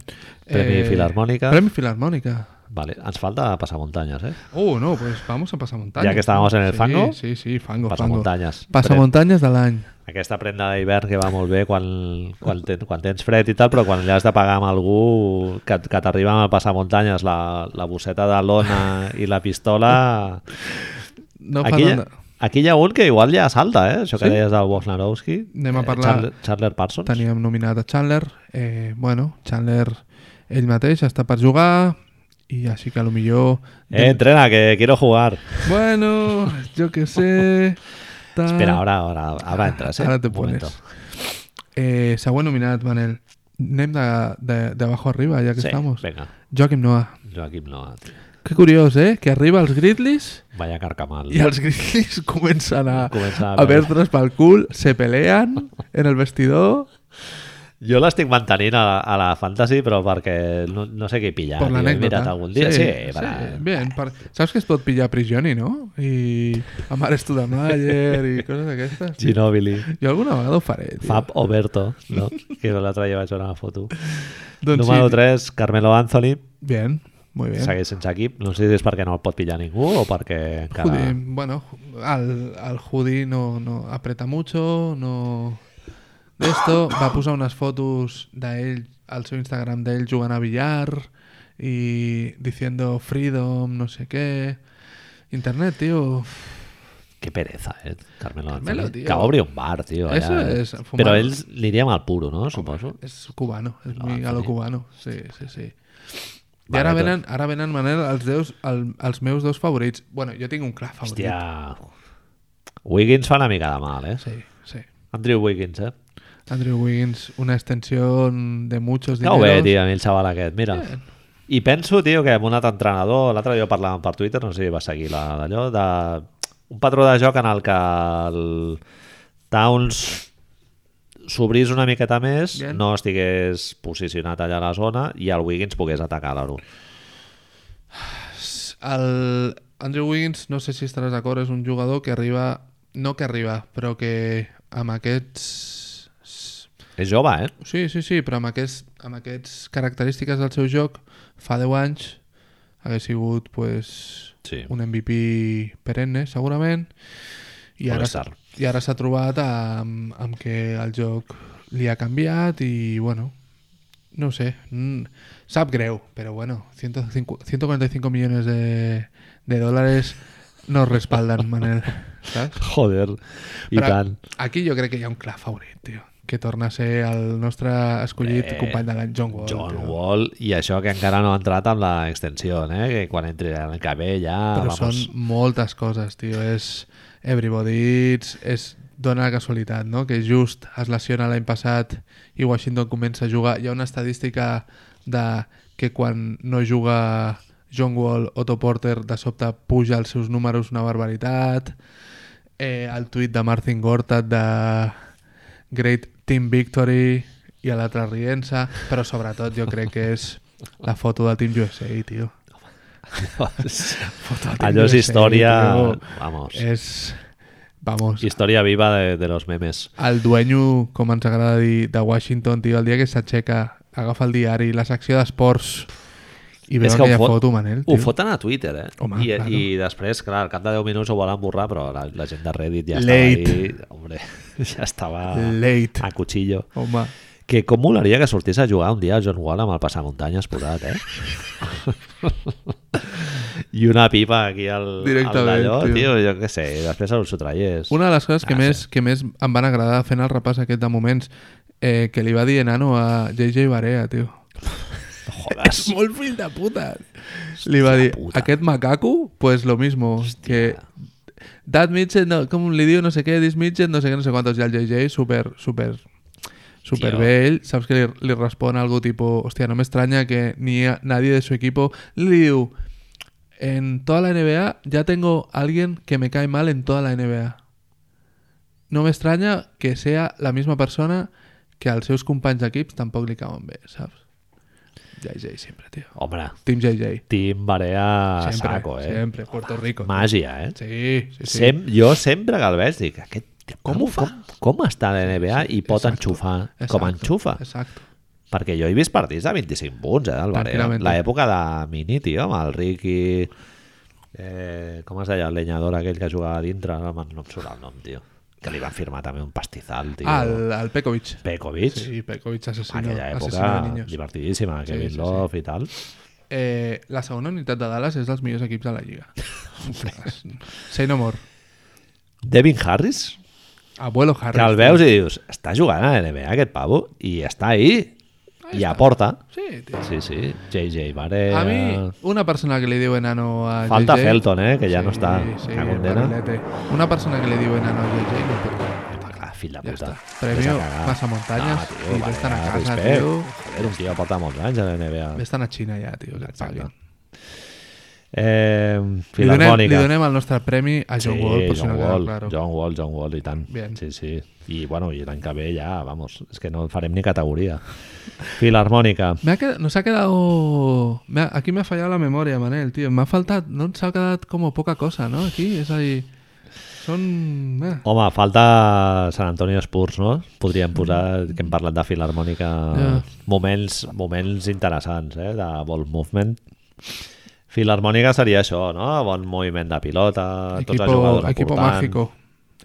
Speaker 2: Premi eh,
Speaker 1: Eh,
Speaker 2: Filarmònica.
Speaker 1: Premi Filarmònica.
Speaker 2: Vale, ens falta passamuntanyes, eh?
Speaker 1: Uh, no, pues vamos a Pasamontañas.
Speaker 2: Ya que estábamos en el
Speaker 1: Sí,
Speaker 2: fango,
Speaker 1: Sí, sí, fango,
Speaker 2: Passamuntanyes.
Speaker 1: fango. Pasamontañes de l'any.
Speaker 2: Aquesta prenda d'hivern que va molt bé quan, quan, ten, quan tens fred i tal, però quan l'has de pagar amb algú que, que t'arriba amb el passamuntanyes, la, la bosseta de lona i la pistola...
Speaker 1: No fa
Speaker 2: aquí, hi ha-
Speaker 1: tant-
Speaker 2: aquí hi ha un que igual ja salta, eh? Això que
Speaker 1: Sí?
Speaker 2: deies del Wojnarowski.
Speaker 1: Anem a
Speaker 2: eh,
Speaker 1: parlar-
Speaker 2: Chandler, Chandler Parsons.
Speaker 1: Teníem nominat a Chandler. Eh, bueno, Chandler ell mateix està per jugar i així que a lo millor...
Speaker 2: Eh, entrena, que quiero jugar.
Speaker 1: Bueno, jo que sé... tal.
Speaker 2: Espera, ahora, ahora, ahora entras, ¿eh?
Speaker 1: Ahora te
Speaker 2: Un momento.
Speaker 1: pones. Eh, següent nominat, Manel. Anem de, de, de abajo arriba, ja que
Speaker 2: Sí,
Speaker 1: estamos.
Speaker 2: venga.
Speaker 1: Joaquim Noah.
Speaker 2: Joaquim Noah. tio.
Speaker 1: Que curiós, eh? Que arriba als Grizzlies
Speaker 2: Vaya carcamal.
Speaker 1: i els Grizzlies comencen a,
Speaker 2: Comença a
Speaker 1: a veure's pel cul, se peleen en el vestidor
Speaker 2: Jo l'estic mantenint a, a la Fantasy, però perquè no, no sé què pillar.
Speaker 1: per
Speaker 2: tio. He
Speaker 1: l'anècdota.
Speaker 2: mirat algun dia. Sí, sí, per...
Speaker 1: Bien, per... Saps que es pot pillar Prigioni, no? I Amar Studamayer i coses d'aquestes.
Speaker 2: Ginobili.
Speaker 1: Jo alguna vegada ho faré, tio.
Speaker 2: Fab Oberto, no? que l'altre dia vaig veure una foto.
Speaker 1: Doncs
Speaker 2: Número
Speaker 1: sí.
Speaker 2: 3, Carmelo Anthony.
Speaker 1: Bien, muy bien.
Speaker 2: Segueix sense equip. No sé si és perquè no el pot pillar ningú o perquè encara...
Speaker 1: Judy, bueno, al, al Judy no, no aprieta mucho, no... De esto, va posar unes fotos d'ell al seu Instagram d'ell jugant a billar i diciendo freedom, no sé què... Internet, tio.
Speaker 2: Que pereza, eh? Carmelo,
Speaker 1: Carmelo,
Speaker 2: Anthony.
Speaker 1: tio.
Speaker 2: Que obri un bar, tio. Allà.
Speaker 1: Eso es fumar.
Speaker 2: Però ells aniríem al puro, no? Suposo.
Speaker 1: És cubano, és
Speaker 2: Ah,
Speaker 1: muy a lo
Speaker 2: sí.
Speaker 1: cubano. Sí, sí, sí. I
Speaker 2: Vale,
Speaker 1: ara
Speaker 2: doncs.
Speaker 1: venen, ara venen Manel, els, deus, el, els meus dos favorits. Bueno, jo tinc un clar favorit.
Speaker 2: Hòstia... Wiggins fa una mica de mal, eh?
Speaker 1: Sí, sí.
Speaker 2: Andrew Wiggins, eh?
Speaker 1: Andrew Wiggins, una extensión de muchos
Speaker 2: Cau
Speaker 1: dineros.
Speaker 2: bé, tio, a mi el xaval aquest, mira. I penso, tio, que amb un altre entrenador, l'altre dia ho parlàvem per Twitter, no sé si va seguir la- d'allò, de... un patró de joc en el que el Towns s'obrís una miqueta més,
Speaker 1: Bien.
Speaker 2: no estigués posicionat allà a la zona i el Wiggins pogués atacar l'aro.
Speaker 1: El Andrew Wiggins, no sé si estaràs d'acord, és un jugador que arriba... No que arriba, però que amb aquests...
Speaker 2: És jove, eh?
Speaker 1: Sí, sí, sí, però amb aquests, amb aquests característiques del seu joc, fa 10 anys hagués sigut pues,
Speaker 2: Sí.
Speaker 1: un MVP perenne, segurament, i
Speaker 2: All
Speaker 1: ara,
Speaker 2: Star.
Speaker 1: i ara s'ha trobat amb, amb que el joc li ha canviat i, bueno, no ho sé, mm, sap greu, però bueno, 105 145 millones de, de dòlars no respalden, Manel, saps?
Speaker 2: Joder, i
Speaker 1: Però
Speaker 2: tant.
Speaker 1: Aquí jo crec que hi ha un clar favorit, tio, que torna a ser el nostre escollit
Speaker 2: Eh,
Speaker 1: company de l'any, John Wall.
Speaker 2: John
Speaker 1: tio.
Speaker 2: Wall, i això que encara no ha entrat amb l'extensió, eh? que quan entri en el cabell ja...
Speaker 1: Però
Speaker 2: Ah, vamos.
Speaker 1: són moltes coses, tio. És Everybody Eats, és dona la casualitat, no? Que just es lesiona l'any passat i Washington comença a jugar. Hi ha una estadística de que quan no juga John Wall, Otto Porter, de sobte puja els seus números una barbaritat. Eh, el tuit de Martin Gortat de Great Team Victory i a l'altre rient-se, però sobretot jo crec que és la foto de Team USA, tio. Foto
Speaker 2: Allò és
Speaker 1: USA,
Speaker 2: història...
Speaker 1: tio.
Speaker 2: Vamos.
Speaker 1: És... Vamos,
Speaker 2: Història viva de, de los memes.
Speaker 1: el duenyo, com ens agrada dir, de Washington, tio, el dia que s'aixeca, agafa el diari, la secció d'esports I veuen aquella foto, Manel,
Speaker 2: Ho
Speaker 1: tio.
Speaker 2: foten a Twitter, eh?
Speaker 1: Home,
Speaker 2: I,
Speaker 1: claro.
Speaker 2: I després, clar, al cap de 10 minuts ho volen borrar, però la, la gent de Reddit ja
Speaker 1: Late.
Speaker 2: estava ahí, hombre, ja estava
Speaker 1: Late.
Speaker 2: a cuchillo.
Speaker 1: Home,
Speaker 2: Que com molaria que sortís a jugar un dia el John Wall amb el passamuntanyes posat, eh? I una pipa aquí al, al
Speaker 1: Directament,
Speaker 2: d'allò,
Speaker 1: tio.
Speaker 2: tio. jo què sé, i després s'ho traies.
Speaker 1: una de les coses que,
Speaker 2: Ah,
Speaker 1: més, que més em van agradar fent el repàs aquest de moments eh, que li va dir enano a JJ Barea, tio.
Speaker 2: No jodes.
Speaker 1: Molt fill de puta. Li va dir,
Speaker 2: puta.
Speaker 1: aquest macaco, pues lo mismo, que... That Mitchell, no, com li diu, no sé què, this Mitchell, no sé què, no sé quantos, i el JJ, super, super, super
Speaker 2: Tio.
Speaker 1: bé, ell, saps que li, li respon algo tipo, hòstia, no m'estranya que ni a- nadie de su equipo li diu, en toda la NBA ya tengo alguien que me cae mal en toda la NBA. No m'estranya que sea la misma persona que als seus companys d'equips tampoc li cauen bé, saps? JJ sempre, tio.
Speaker 2: Home,
Speaker 1: Team JJ.
Speaker 2: Team Barea a
Speaker 1: Sempre,
Speaker 2: saco, eh?
Speaker 1: sempre. Puerto Rico.
Speaker 2: Màgia, eh?
Speaker 1: Sí, sí, sí.
Speaker 2: Sem jo sempre que el veig dic, aquest, tio, com, ho fa? Com, com està la NBA i pot
Speaker 1: exacto,
Speaker 2: enxufar com
Speaker 1: Exacto,
Speaker 2: enxufa?
Speaker 1: Exacto.
Speaker 2: Perquè jo he vist partits de 25 punts, eh, del Barea.
Speaker 1: Tranquil·lament.
Speaker 2: L'època de Mini, tio, amb el Ricky... Eh, com es deia el lenyador aquell que jugava a dintre? No, me'n- no em surt el nom, tio. Que li van firmar també un pastizal, tio.
Speaker 1: Ah, al, al Pekovic.
Speaker 2: Pekovic.
Speaker 1: Sí, Pekovic asesino,
Speaker 2: aquella època
Speaker 1: asesino de niños.
Speaker 2: divertidíssima,
Speaker 1: Sí,
Speaker 2: Kevin
Speaker 1: sí, sí.
Speaker 2: Love i tal.
Speaker 1: Eh, la segona unitat de Dallas és dels millors equips de la Lliga. Say no more.
Speaker 2: Devin Harris,
Speaker 1: Abuelo Harris.
Speaker 2: que el veus i dius, està jugant a la NBA aquest pavo i està ahí, i aporta.
Speaker 1: Sí, tio.
Speaker 2: Sí, sí, JJ Barea...
Speaker 1: A mi, una persona que li diu enano a
Speaker 2: Falta
Speaker 1: JJ...
Speaker 2: Felton, eh, que ja no està
Speaker 1: Sí,
Speaker 2: a condena.
Speaker 1: barrilete. Una persona que li diu enano a JJ... No pot.
Speaker 2: Home, clar, fill de
Speaker 1: Ja
Speaker 2: puta.
Speaker 1: està. Premio, passamuntanyes, i
Speaker 2: vale,
Speaker 1: vés-te'n a
Speaker 2: ja,
Speaker 1: casa,
Speaker 2: Ah, respect.
Speaker 1: tio.
Speaker 2: Joder, un tio porta molts anys a la NBA.
Speaker 1: Vés-te'n a Xina ja, tio, que et
Speaker 2: Exacte.
Speaker 1: paguin. Li
Speaker 2: Eh,
Speaker 1: donem, li
Speaker 2: Filarmònica.
Speaker 1: donem el nostre premi a John
Speaker 2: sí,
Speaker 1: Wall, per si
Speaker 2: John,
Speaker 1: no queda
Speaker 2: Wall,
Speaker 1: claro.
Speaker 2: John Wall, John Wall, i tant.
Speaker 1: Bien.
Speaker 2: Sí, sí. I, bueno, i l'any que ve ja, vamos, és que no farem ni categoria. Filarmònica.
Speaker 1: Me ha qued- nos ha quedado... me ha- aquí me ha fallado la memoria, Manel, tío. Me ha faltado... No nos ha quedado como poca cosa, ¿no? Aquí es ahí... Son... eh,
Speaker 2: Home, falta Sant Antonio Spurs, no? Podríem posar, que hem parlat de filarmònica,
Speaker 1: Mm. Ja.
Speaker 2: moments, moments interessants, eh? De ball movement. Filarmònica seria això, no? Bon moviment de pilota, tots els
Speaker 1: equipo,
Speaker 2: jugadors
Speaker 1: equipo
Speaker 2: aportant.
Speaker 1: mágico.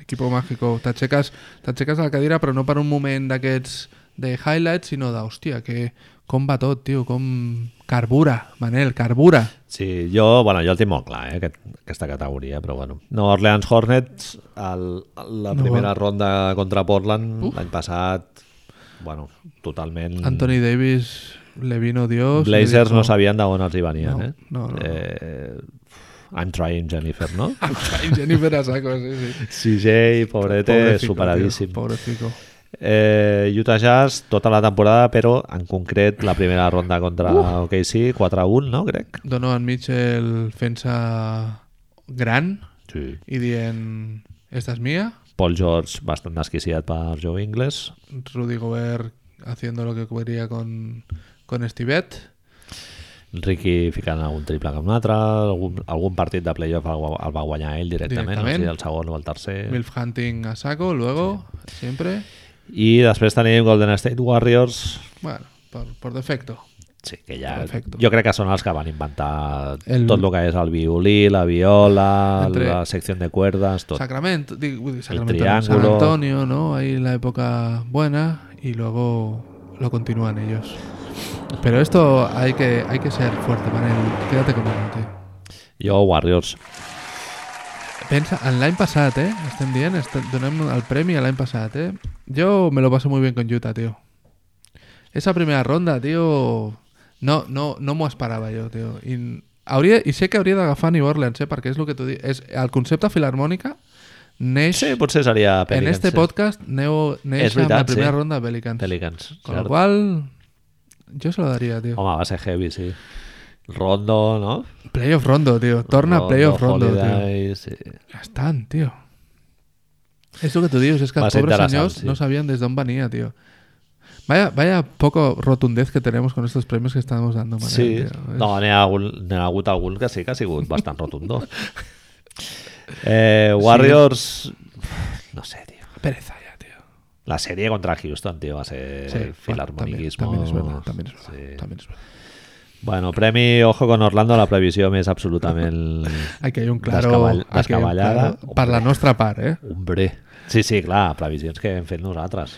Speaker 1: Equipo mágico. T'aixeques t'aixeques a la cadira, però no per un moment d'aquests de highlights, sinó de, hòstia, que com va tot, tio, com... Carbura, Manel, carbura.
Speaker 2: Sí, jo, bueno, jo el tinc molt clar, eh, aquest, aquesta categoria, però bueno. Nova Orleans Hornets, el, la
Speaker 1: No
Speaker 2: primera ronda contra Portland, l'any passat, bueno, totalment...
Speaker 1: Anthony Davis le vino Dios. le
Speaker 2: Mm. Blazers no
Speaker 1: dijo,
Speaker 2: sabien d'on els hi venien,
Speaker 1: No,
Speaker 2: eh?
Speaker 1: no, no, no.
Speaker 2: eh? I'm trying, Jennifer, no?
Speaker 1: "I'm trying Jennifer a saco, sí, sí.
Speaker 2: CJ, pobrete,
Speaker 1: Pobre fico,
Speaker 2: superadíssim.
Speaker 1: tio, Pobre fico.
Speaker 2: Eh, Utah Jazz, tota la temporada, però en concret la primera ronda contra uh. OKC, 4-1, no, crec?
Speaker 1: Donovan Mitchell fent-se gran
Speaker 2: Sí.
Speaker 1: i dient esta es mía,
Speaker 2: Paul George, bastant desquiciat per Joe Ingles.
Speaker 1: Rudy Gobert haciendo lo que quería con, con Stivet,
Speaker 2: Ricky ficant algun triple que un altre, algun, algun partit de playoff el, va- el va guanyar ell directament,
Speaker 1: Directament.
Speaker 2: directament. No sé, si el segon o el tercer.
Speaker 1: Milf Hunting a saco, luego, siempre,
Speaker 2: I després tenim Golden State Warriors,
Speaker 1: bueno, por, por defecto.
Speaker 2: Sí, que ja...
Speaker 1: Perfecto.
Speaker 2: Jo crec que són els que van inventar
Speaker 1: El-
Speaker 2: el... tot el que és el violí, la viola,
Speaker 1: Entre-
Speaker 2: Entre... la secció de cuerdas, tot.
Speaker 1: Sacramento, digo, uy, Sacramento, no, San
Speaker 2: triángulo.
Speaker 1: Antonio, ¿no? Ahí la época buena y luego lo continúan ellos. Pero esto hay que, hay que ser fuerte, Manel. Quédate con uno, tío.
Speaker 2: Jo, Warriors.
Speaker 1: Pensa, en l'any passat, eh? Estem dient, estem, donem el premi a l'any passat, eh? Jo me lo paso muy bien con Utah, tío. Esa primera ronda, tío... No, no, no m'ho esperava jo, tio. I, hauria, I sé que hauria d'agafar New Orleans, eh? Perquè és el que tu dius. És, el concepte filarmònica neix...
Speaker 2: Sí, potser seria
Speaker 1: en
Speaker 2: Pelicans.
Speaker 1: este
Speaker 2: sí.
Speaker 1: podcast neu, neix
Speaker 2: És veritat,
Speaker 1: amb la primera
Speaker 2: sí.
Speaker 1: ronda de Pelicans.
Speaker 2: Pelicans.
Speaker 1: Con lo
Speaker 2: cert.
Speaker 1: cual... eh. Jo se lo daria, tío.
Speaker 2: Home, va ser heavy, sí. Rondo, no?
Speaker 1: Playoff rondo, tío. Torna
Speaker 2: Rondo,
Speaker 1: playoff rondo, tío.
Speaker 2: Holiday, sí.
Speaker 1: Ja estan, tio. És el que tu dius, és que
Speaker 2: Va
Speaker 1: els
Speaker 2: ser
Speaker 1: pobres
Speaker 2: interessant,
Speaker 1: senyors
Speaker 2: sí.
Speaker 1: no sabien des d'on venia, tio. Vaya, vaya poco rotundez que tenemos con estos premios que estamos dando, Manel,
Speaker 2: Sí.
Speaker 1: tio. És-
Speaker 2: No, n'hi ha, algun, n'hi ha hagut algun que sí que ha sigut bastant rotundo. eh, Warriors... No sé, tio.
Speaker 1: Pereza ja, tio.
Speaker 2: La sèrie contra Houston, tio, va
Speaker 1: Sí,
Speaker 2: ser sí,
Speaker 1: bueno, també,
Speaker 2: filarmoniquismo.
Speaker 1: també és verdad, també és verdad, també és verdad.
Speaker 2: Bueno, premi Ojo con Orlando a la previsió més absolutament...
Speaker 1: Aquí hi ha un claro...
Speaker 2: Descaball-
Speaker 1: aquí hi ha un
Speaker 2: descabellada.
Speaker 1: claro per la nostra part, eh?
Speaker 2: Hombre. Sí, sí, clar, previsions que hem fet nosaltres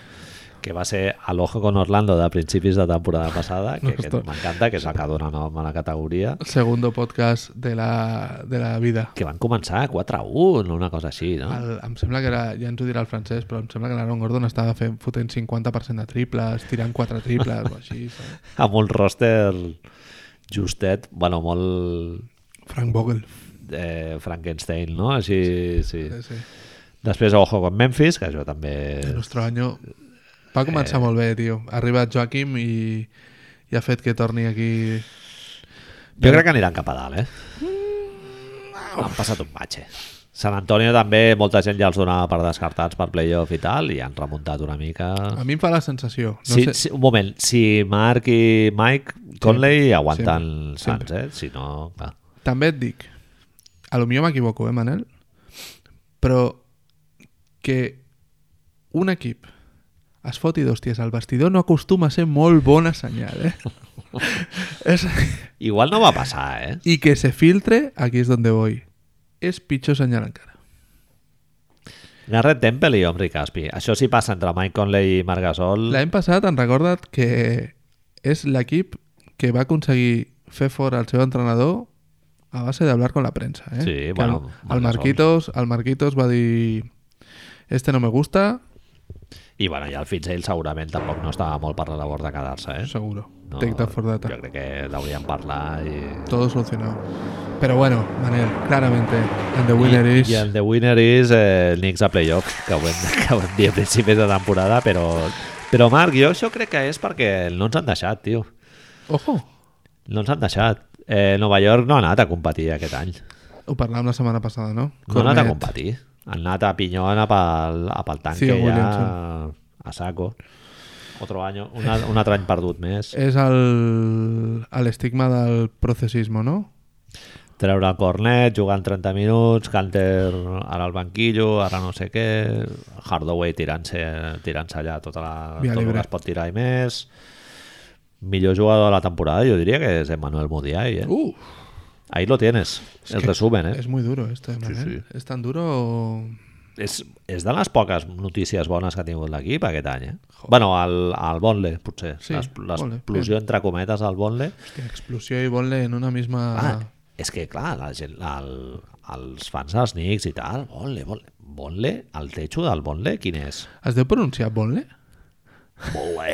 Speaker 2: que va ser a l'Ojo con Orlando de principis de temporada passada, que, que
Speaker 1: Ostres.
Speaker 2: m'encanta, que és el que dona nom a la categoria,
Speaker 1: Segundo podcast de la, de la vida.
Speaker 2: que van començar 4-1, una cosa així, no?
Speaker 1: El, em sembla que era, ja ens ho dirà el francès, però em sembla que l'Aaron Gordon estava fent, fotent 50% de triples, tirant 4 triples o així. saps?
Speaker 2: amb un roster justet, bueno, molt
Speaker 1: Frank Vogel.
Speaker 2: eh, Frankenstein, no? Així, sí.
Speaker 1: Sí, sí.
Speaker 2: Després, ojo con Memphis, que això també...
Speaker 1: El nostre any va començar molt bé, tio. Ha arribat Joaquim i, i ha fet que torni aquí...
Speaker 2: Jo crec que aniran cap a dalt, eh? Mm, Han passat un matxe. Sant Antonio també, molta gent ja els donava per descartats per playoff i tal, i han remuntat una mica...
Speaker 1: A mi em fa la sensació. No
Speaker 2: Ah. sí,
Speaker 1: Ah, sé,
Speaker 2: sí, un moment, si Marc i Mike Conley aguanten
Speaker 1: sempre.
Speaker 2: Sants, eh? Si no... Clar.
Speaker 1: També et dic, a lo millor m'equivoco, eh, Manel? Però que un equip es foti d'hòsties al vestidor no acostuma a ser molt bona senyal, eh? és...
Speaker 2: Igual no va passar, eh?
Speaker 1: I que se filtre, aquí és donde voy. És pitjor senyal encara.
Speaker 2: Garrett Temple i Omri Caspi. Això sí passa entre Mike Conley i Marc Gasol.
Speaker 1: L'any passat han recordat que és l'equip que va aconseguir fer fora el seu entrenador a base d'hablar con la premsa. Eh?
Speaker 2: Sí,
Speaker 1: Que
Speaker 2: bueno,
Speaker 1: El, el,
Speaker 2: Marc Gasol.
Speaker 1: Marquitos, el Marquitos va dir este no me gusta,
Speaker 2: I bueno, i el Fitzell segurament tampoc no estava molt per la labor de quedar-se, eh?
Speaker 1: seguro.
Speaker 2: No,
Speaker 1: Take that for data.
Speaker 2: Jo crec que deurien parlar i...
Speaker 1: Todo solucionado. Pero bueno, Manel, claramente, and the winner
Speaker 2: I,
Speaker 1: is...
Speaker 2: I el The Winner is eh, el Knicks a playoff, que ho, hem, que ho hem dit a principis de temporada, però... Però Marc, jo això crec que és perquè no ens han deixat, tio.
Speaker 1: Ojo!
Speaker 2: No ens han deixat. Eh, Nova York no ha anat a competir aquest any.
Speaker 1: Ho parlàvem la setmana passada, no?
Speaker 2: No ha anat a
Speaker 1: Cornet.
Speaker 2: competir. Han anat a pinyona pel, a pel tanque
Speaker 1: Theo
Speaker 2: sí, ja
Speaker 1: Williamson.
Speaker 2: a saco. Otro año, un, al- un altre any perdut més.
Speaker 1: És el, el estigma del processismo, no?
Speaker 2: Treure el cornet, jugant 30 minuts, Canter ara al banquillo, ara no sé què, Hardaway tirant-se tirant allà tota la,
Speaker 1: Via
Speaker 2: tot el
Speaker 1: llibre.
Speaker 2: que es pot tirar i més. Millor jugador de la temporada, jo diria que és Emmanuel Mudiay. Eh?
Speaker 1: Uh,
Speaker 2: Ahí lo tienes, el
Speaker 1: que
Speaker 2: resumen. Eh?
Speaker 1: es muy duro esto, Manel. ¿Es tan duro o...?
Speaker 2: és, és de les poques notícies bones que ha tingut l'equip aquest any, eh? Bueno, al, al Bonle, potser.
Speaker 1: Sí,
Speaker 2: Sí,
Speaker 1: Bonle,
Speaker 2: L'explosió, entre cometes, al Bonle.
Speaker 1: Hostia, explosión y volé en una misma...
Speaker 2: Ah, és que, clar, la gent, el, els fans dels Knicks i tal, Bonle, Bonle, Bonle, el techo del Bonle, quin és?
Speaker 1: ¿Has de pronunciar volé?
Speaker 2: Bonle.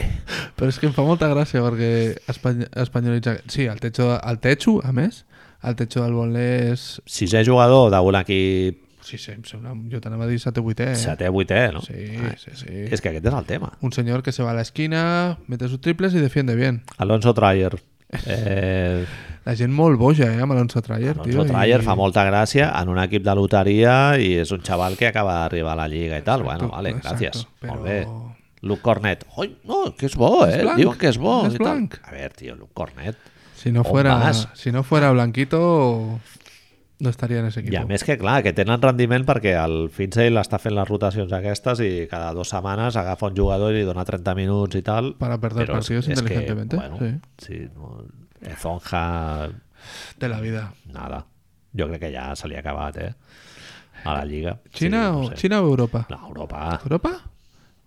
Speaker 1: Però és que em fa molta gràcia perquè espany espanyolitza... Sí, el techo, el techo, a més, el techo del voler és...
Speaker 2: Sisè jugador d'un equip
Speaker 1: Sí, sí, em sembla... Jo t'anava a dir 7 o 8 eh?
Speaker 2: setè, vuitè, no?
Speaker 1: Sí, sí, sí.
Speaker 2: Ah, És que aquest és el tema.
Speaker 1: Un senyor que se va a la esquina, mete sus triples i defiende bien.
Speaker 2: Alonso Trier. Eh,
Speaker 1: La gent molt boja, eh, amb Alonso Trayer,
Speaker 2: Alonso Trier fa molta gràcia en un equip de loteria i és un xaval que acaba d'arribar a la lliga i tal. bueno, vale,
Speaker 1: exacto,
Speaker 2: gràcies.
Speaker 1: però-
Speaker 2: Molt bé. Luke Cornet. Oi, no, que és bo, eh?
Speaker 1: blanc,
Speaker 2: Diuen que és bo.
Speaker 1: és
Speaker 2: i tal.
Speaker 1: blanc.
Speaker 2: A veure, tio, Luke Cornet.
Speaker 1: Si no
Speaker 2: On
Speaker 1: fuera,
Speaker 2: vas?
Speaker 1: si no fuera Blanquito, no estaria en ese equipo.
Speaker 2: I a més que, clar, que tenen rendiment perquè el Fitzell està fent les rotacions aquestes i cada dues setmanes agafa un jugador i li dona 30 minuts i tal.
Speaker 1: Para perder
Speaker 2: Però és-
Speaker 1: partidos
Speaker 2: és que,
Speaker 1: inteligentemente,
Speaker 2: Bueno,
Speaker 1: sí.
Speaker 2: sí. no, Ezonja,
Speaker 1: De la vida.
Speaker 2: nada. Jo crec que ja se li ha acabat, eh? A la Lliga.
Speaker 1: Xina,
Speaker 2: sí,
Speaker 1: o,
Speaker 2: no sé.
Speaker 1: Xina Mm. o Europa?
Speaker 2: No, Europa.
Speaker 1: Europa?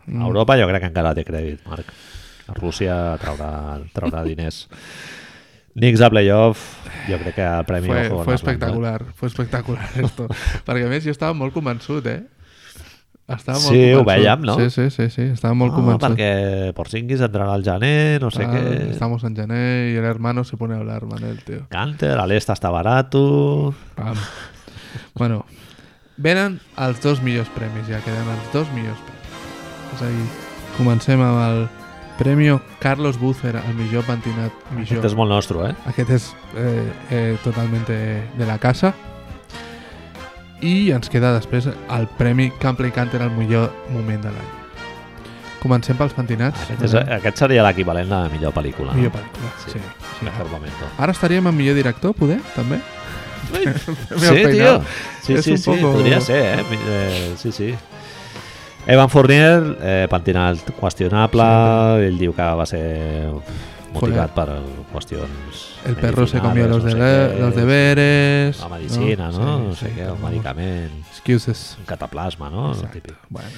Speaker 2: A Europa jo crec que encara té crèdit, Marc. A Rússia traurà, traurà diners. Knicks a playoff, jo crec que el premi...
Speaker 1: Fue,
Speaker 2: Ojo con
Speaker 1: fue
Speaker 2: Orlando.
Speaker 1: espectacular, fue espectacular esto. Perquè a més jo estava molt convençut, eh? Estava molt
Speaker 2: Sí, ho
Speaker 1: convençut.
Speaker 2: veiem, no?
Speaker 1: Sí, sí, sí, sí estava molt
Speaker 2: Ah,
Speaker 1: convençut.
Speaker 2: perquè Porzingis entrarà al gener, no sé
Speaker 1: Ah,
Speaker 2: què...
Speaker 1: Estamos en Jané y el hermano se pone a hablar, Manel, tío.
Speaker 2: Canter, a l'est està barato...
Speaker 1: Pam. bueno, venen els dos millors premis, ja queden els dos millors premis. És a dir, comencem amb el Premi Carlos Bucer al millor pentinat millor.
Speaker 2: Aquest és molt nostre, eh?
Speaker 1: Aquest és eh, eh, totalment de, de la casa. I ens queda després el Premi Campley Canter al millor moment de l'any. Comencem pels pentinats.
Speaker 2: Aquest, és, eh, ah. aquest seria l'equivalent a la millor pel·lícula.
Speaker 1: Millor
Speaker 2: no?
Speaker 1: pel·lícula, sí. sí,
Speaker 2: Mejor momento.
Speaker 1: Ara estaríem amb millor director, poder, també?
Speaker 2: Sí,
Speaker 1: peinado.
Speaker 2: tio. Sí,
Speaker 1: Es
Speaker 2: sí,
Speaker 1: un
Speaker 2: sí,
Speaker 1: poco-
Speaker 2: podria ser, eh? Mi- eh sí, sí. Evan Fournier, eh, pentinat qüestionable, ell diu que va ser motivat per qüestions...
Speaker 1: El perro se comió los,
Speaker 2: medicinales, no sé
Speaker 1: debe-
Speaker 2: què,
Speaker 1: los deberes.
Speaker 2: La medicina, no?
Speaker 1: Sí,
Speaker 2: no sé
Speaker 1: sí,
Speaker 2: què, el
Speaker 1: pero-
Speaker 2: medicament...
Speaker 1: Excuses.
Speaker 2: Un cataplasma, no? El
Speaker 1: Exacte.
Speaker 2: típic.
Speaker 1: Bueno,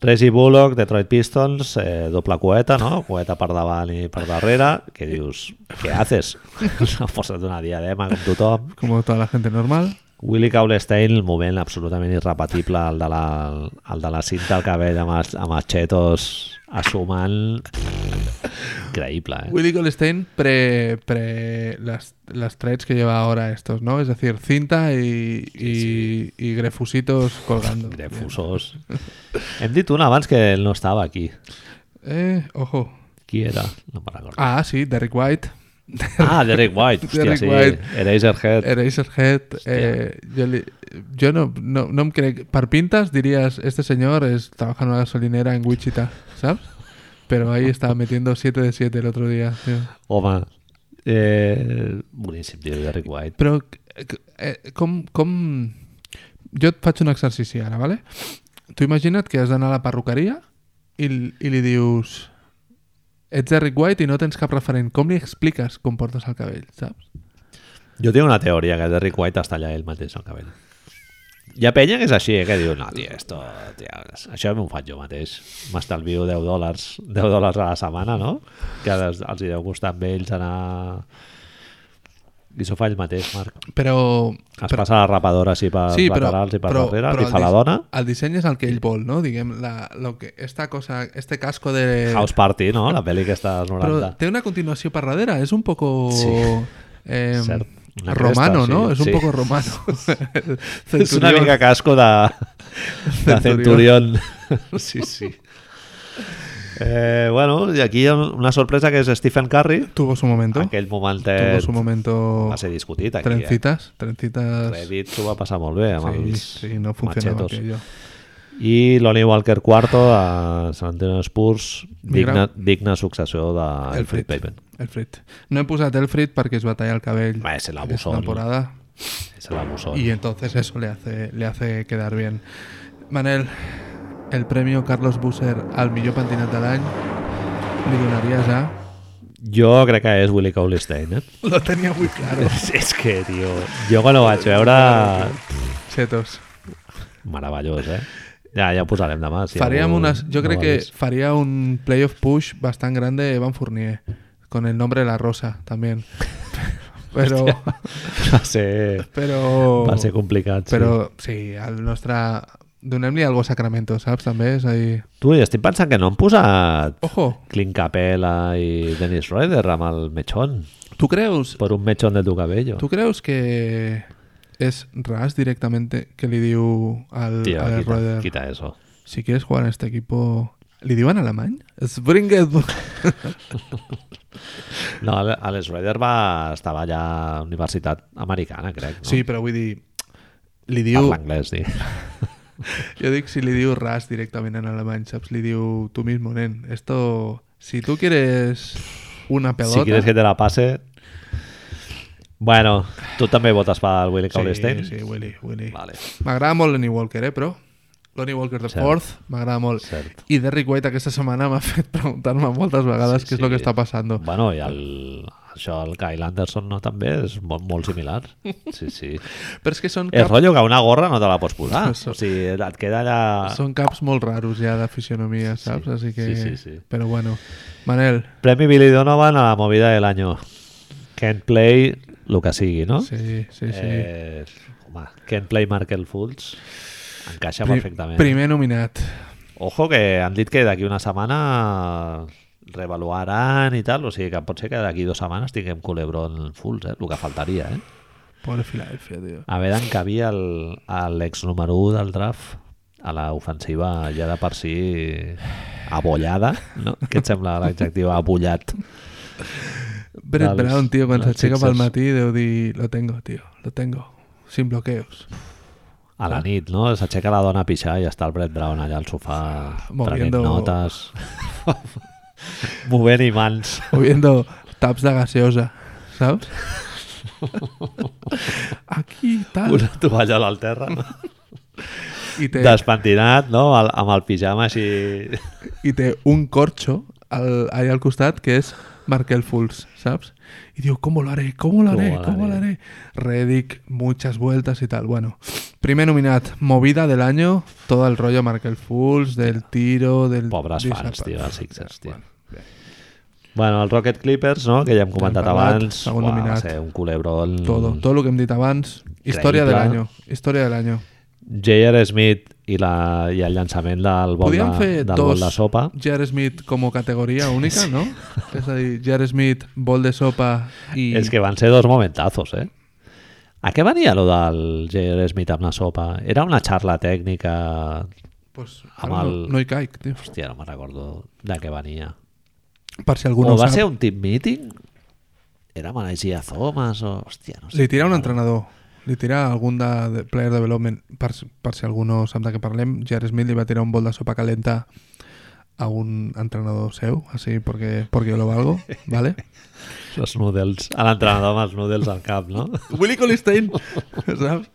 Speaker 2: Tracy Bullock, Detroit Pistons, eh, doble coeta, no? Coeta per davant i per darrere, que dius, què haces? S'ha posat una diadema com tothom.
Speaker 1: como toda la gente normal.
Speaker 2: Willy Caulestein, el moment absolutament irrepetible, el de la, el de la cinta al cabell amb, els, amb els xetos assumant... Increïble, eh?
Speaker 1: Ah. Willy Goldstein pre, pre las, las threads que lleva ahora estos, ¿no? Es decir, cinta y, y, y grefusitos colgando.
Speaker 2: Grefusós. Hem dit un abans que ell no estava aquí.
Speaker 1: Eh, ojo.
Speaker 2: Qui era? No me'n recordo.
Speaker 1: Ah, sí, Derek White.
Speaker 2: Ah, Derek White. Hòstia,
Speaker 1: Derek
Speaker 2: sí.
Speaker 1: White.
Speaker 2: Eraserhead.
Speaker 1: Eraserhead. Eh, yo, li- yo no, no, no me creo... Par pintas dirías, este señor es, trabaja en una gasolinera en Wichita, ¿sabes? Pero ahí estaba metiendo 7 de 7 el otro día. tío.
Speaker 2: Home, eh, boníssim, tio, Derek White.
Speaker 1: Però eh, com, com... Jo et faig un exercici ara, vale? Tu imagina't que has d'anar a la perruqueria i, l- i li dius ets Derrick White i no tens cap referent. Com li expliques com portes el cabell, saps?
Speaker 2: Jo tinc una teoria que Derek White està allà ell mateix al cabell. Hi ha penya que és així, eh, que diu, no, tio, esto, tio, això m'ho faig jo mateix. M'estalvio 10 dòlars, 10 dòlars a la setmana, no? Que els, els hi deu costar amb ells anar... I s'ho fa ell mateix, Marc.
Speaker 1: Però...
Speaker 2: Es passa la rapadora així per sí, laterals i per darrere, li
Speaker 1: el
Speaker 2: fa la
Speaker 1: dis-
Speaker 2: dona.
Speaker 1: El disseny és el que ell vol, no? Diguem, la, lo que, esta cosa, este casco de...
Speaker 2: House Party, no? La pel·li que està als 90.
Speaker 1: Però té una continuació per darrere, és un poco...
Speaker 2: Sí.
Speaker 1: Eh,
Speaker 2: Cert. Una
Speaker 1: romano,
Speaker 2: cresta,
Speaker 1: no?
Speaker 2: sí,
Speaker 1: És un
Speaker 2: sí.
Speaker 1: poco romano.
Speaker 2: És una
Speaker 1: Centurión.
Speaker 2: mica casco de, de
Speaker 1: Centurión.
Speaker 2: Centurión. Sí, sí. Eh, bueno, i aquí hi ha una sorpresa que és Stephen Curry.
Speaker 1: Tuvo su momento.
Speaker 2: Aquell moment
Speaker 1: Tuvo su momento.
Speaker 2: va ser discutit aquí.
Speaker 1: trencitas.
Speaker 2: Eh?
Speaker 1: Trencitas.
Speaker 2: Reddit s'ho va passar molt bé amb
Speaker 1: Sí,
Speaker 2: els
Speaker 1: sí, no funcionaba
Speaker 2: machetos.
Speaker 1: aquello.
Speaker 2: I Lonnie Walker quarto a San Antonio Spurs,
Speaker 1: Mira.
Speaker 2: digna, digna successor de Alfred
Speaker 1: Elfrid.
Speaker 2: Payton.
Speaker 1: Elfrid. No he posat Elfrid porque es batalla al cabello.
Speaker 2: Va, es el
Speaker 1: esta
Speaker 2: abusón.
Speaker 1: temporada.
Speaker 2: Se l'abusó.
Speaker 1: Y entonces eso le hace, le hace quedar bien. Manel, el premio Carlos Busser al millor pentinat de l'any li donaries a...
Speaker 2: Jo crec que és Willie Cauley-Stein, eh?
Speaker 1: Lo tenía muy claro.
Speaker 2: És, és que, tio, jo quan ho vaig veure...
Speaker 1: Setos.
Speaker 2: Meravellós, eh? Ja, ja ho posarem demà. Si
Speaker 1: Faríamos
Speaker 2: algú
Speaker 1: unas, yo
Speaker 2: no
Speaker 1: creo
Speaker 2: ho ha
Speaker 1: que
Speaker 2: vist.
Speaker 1: faría un playoff push bastante grande Evan Fournier, con el nombre de la rosa también. Pero,
Speaker 2: Va ser,
Speaker 1: pero,
Speaker 2: va ser complicat, però... sí.
Speaker 1: pero sí, al nuestra donem-li algo a Sacramento, saps? També és a dir...
Speaker 2: Tu, i estic pensant que no han posat
Speaker 1: Ojo,
Speaker 2: Clint Capella i Dennis Rader amb el mechón.
Speaker 1: tu creus,
Speaker 2: Per un mechón de tu cabello.
Speaker 1: tu creus que és ras directamente que li diu al,
Speaker 2: Tio,
Speaker 1: al
Speaker 2: quita,
Speaker 1: Roder,
Speaker 2: quita eso.
Speaker 1: si quieres jugar en este equipo... Li diuen alemany? Springer...
Speaker 2: No, Alex Rader va, estava allà a la Universitat Americana, crec. No?
Speaker 1: Sí, però vull dir... Li diu...
Speaker 2: Parla anglès, sí.
Speaker 1: Yo digo si le digo ras directamente en alemán, saps? Le digo tú mismo, nen. Esto, si tú quieres una pelota...
Speaker 2: Si quieres que te la passe... Bueno, tu també votes pel Willie Cauley-Stein?
Speaker 1: Sí, sí, Willy, Willy.
Speaker 2: Vale.
Speaker 1: M'agrada molt Lonnie Walker, eh, però... Lonnie Walker de
Speaker 2: Cert.
Speaker 1: Fourth, m'agrada molt.
Speaker 2: Cert.
Speaker 1: I Derrick White aquesta setmana m'ha fet preguntar-me moltes vegades
Speaker 2: Sí,
Speaker 1: què és
Speaker 2: sí.
Speaker 1: el que està passant.
Speaker 2: Bueno, i el, això, el Kyle Anderson no, també és molt, molt similar. Sí, sí.
Speaker 1: Però és que són
Speaker 2: És
Speaker 1: caps,
Speaker 2: rotllo que una gorra no te la pots posar. O sigui, et queda allà...
Speaker 1: són caps molt raros ja d'aficionomia, saps? Així que...
Speaker 2: ah. sí, sí, sí.
Speaker 1: Però bueno, Manel,
Speaker 2: Premi Billy Donovan a la movida de l'any. Can't play, el que sigui, no?
Speaker 1: sí, sí, sí.
Speaker 2: Eh, home, can't play Markel Fultz. Encaixa
Speaker 1: Pri-
Speaker 2: perfectament. eh.
Speaker 1: primer nominat.
Speaker 2: Ojo, que han dit que d'aquí una setmana revaluaran i tal, o sigui que pot ser que d'aquí dues setmanes tinguem Culebron Fultz, eh? el que faltaria, eh?
Speaker 1: Pobre Filadelfia, tio.
Speaker 2: A veure d'encabir l'ex número 1 del draft a l'ofensiva ja de per si abollada, no? Què et sembla l'adjectiu abollat?
Speaker 1: Brett
Speaker 2: dels-
Speaker 1: Brown, tío, cuando se
Speaker 2: dels
Speaker 1: aixeca pel
Speaker 2: Sixers.
Speaker 1: matí deu dir lo tengo, tío, lo tengo, sin bloqueos.
Speaker 2: A la nit, no? S'aixeca la dona a pixar i està el Brett Brown allà al sofà prenent
Speaker 1: Moviendo-
Speaker 2: notes. Movent imants.
Speaker 1: O viendo taps de gaseosa, ¿sabes? Aquí,
Speaker 2: Una
Speaker 1: tal.
Speaker 2: tovallola al terra, no?
Speaker 1: Y te,
Speaker 2: Despentinat, no? Al- Amb el pijama així...
Speaker 1: i té un corcho al, allà al costat que és Markel Fultz, ¿sabes? Y digo, ¿cómo lo haré? ¿Cómo lo haré?
Speaker 2: ¿Cómo lo
Speaker 1: ¿Cómo lo haré?
Speaker 2: haré?
Speaker 1: Redick, muchas vueltas y tal. Bueno, primer nominat, movida del año, todo el rollo Markel Fultz, del tiro, del...
Speaker 2: Pobres
Speaker 1: disapa-
Speaker 2: fans, tio, dels Sixers, tio.
Speaker 1: Bueno, bé.
Speaker 2: Bueno, el Rocket Clippers, no?, que ja hem comentat
Speaker 1: parlat,
Speaker 2: abans,
Speaker 1: segon
Speaker 2: Uah, va
Speaker 1: nominat.
Speaker 2: ser un culebrón.
Speaker 1: Todo, todo lo que hem dit abans. Història de
Speaker 2: Increïble.
Speaker 1: l'any. Història de l'any.
Speaker 2: J.R. Smith i, la, i el llançament del bol,
Speaker 1: Podíem
Speaker 2: de,
Speaker 1: fer
Speaker 2: del
Speaker 1: dos
Speaker 2: bol de sopa.
Speaker 1: Jar Smith com a categoria única, no? És a dir, Jar Smith, bol de sopa i...
Speaker 2: És que van ser dos momentazos, eh? A què venia lo del J.R. Smith amb la sopa? Era una xarra tècnica...
Speaker 1: pues,
Speaker 2: amb
Speaker 1: ara
Speaker 2: el-
Speaker 1: no, no hi caic, tio.
Speaker 2: Hòstia, no me'n recordo de què venia.
Speaker 1: Per si algú
Speaker 2: O
Speaker 1: no ho
Speaker 2: va
Speaker 1: sap,
Speaker 2: ser un team meeting? Era Malaysia Thomas o... Hòstia, no sé.
Speaker 1: li tira un entrenador. Li tira algun de, de player development. Per, si- per si algú no sap de què parlem, Jar Smith li va tirar un bol de sopa calenta a un entrenador seu, així, perquè, perquè yo lo valgo, ¿vale?
Speaker 2: Els noodles. A l'entrenador amb els noodles al cap, no?
Speaker 1: Willy Colistein, saps?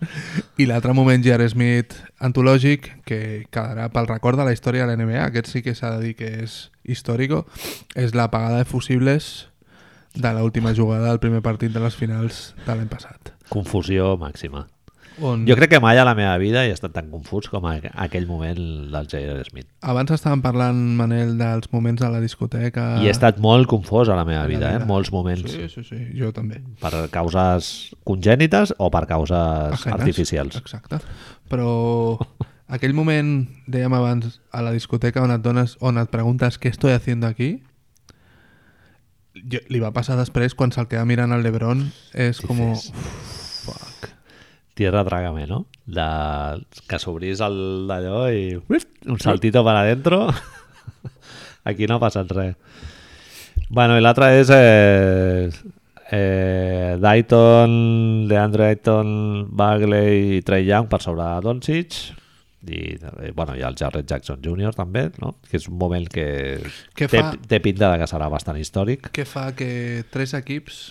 Speaker 1: I l'altre moment, Jar Smith, antològic, que quedarà pel record de la història de la NBA, aquest sí que s'ha de dir que és històrico, és l'apagada de fusibles de l'última jugada del primer partit de les finals de l'any passat.
Speaker 2: Confusió màxima.
Speaker 1: On
Speaker 2: Jo crec que mai a la meva vida he estat tan confús com a aquell moment del J.R. Smith.
Speaker 1: Abans estàvem parlant, Manel, dels moments de la discoteca...
Speaker 2: I he estat molt confós a la meva
Speaker 1: la
Speaker 2: vida, eh?
Speaker 1: vida.
Speaker 2: molts moments.
Speaker 1: Ah. Sí, sí, sí, jo també.
Speaker 2: Per causes congènites o per causes
Speaker 1: Ajenes,
Speaker 2: artificials.
Speaker 1: Exacte. Però aquell moment, dèiem abans, a la discoteca on et, dones, on et preguntes què estoy haciendo aquí, jo, li va passar després quan se'l queda mirant al Lebron és com...
Speaker 2: Dices, Fuck. Tierra trágame, no? De... Que s'obrís el d'allò i uip, un saltito para adentro. Aquí no ha passat res. Bueno, i l'altre és eh, eh, Dayton, Leandre Ayton, Bagley i Trey Young per sobre de Doncic i, eh, bueno, i el Jared Jackson Jr. també, no? que és un moment que
Speaker 1: Què
Speaker 2: té,
Speaker 1: fa?
Speaker 2: té pinta de que serà bastant històric.
Speaker 1: Què fa que tres equips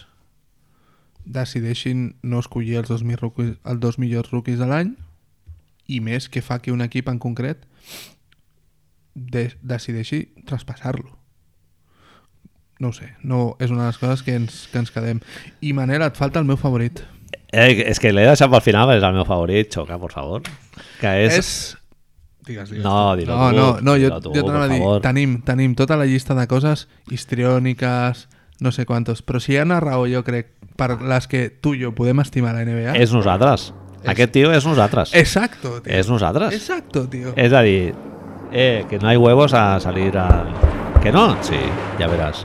Speaker 1: decideixin no escollir els dos, mi- rookies, els dos millors rookies de l'any i més que fa que un equip en concret de decideixi traspassar-lo. No ho sé, no, és una de les coses que ens, que ens quedem. I Manel, et falta el meu favorit.
Speaker 2: Eh, és que l'he deixat pel final, perquè és el meu favorit, Xoca, por favor. Que és... és...
Speaker 1: Digues, digues.
Speaker 2: No, dilo
Speaker 1: no,
Speaker 2: tu,
Speaker 1: no, no, jo,
Speaker 2: dilo tu,
Speaker 1: jo
Speaker 2: por
Speaker 1: t'anava a dir,
Speaker 2: favor.
Speaker 1: tenim, tenim tota la llista de coses histriòniques, no sé quantos, però si hi ha una raó, jo crec, per les que tu i jo podem estimar la NBA...
Speaker 2: És nosaltres. Aquest tio és nosaltres.
Speaker 1: Exacto, tío.
Speaker 2: És nosaltres.
Speaker 1: Exacto, tío.
Speaker 2: És a dir, eh, que no hi huevos a salir al... Que no? Sí, ja veràs.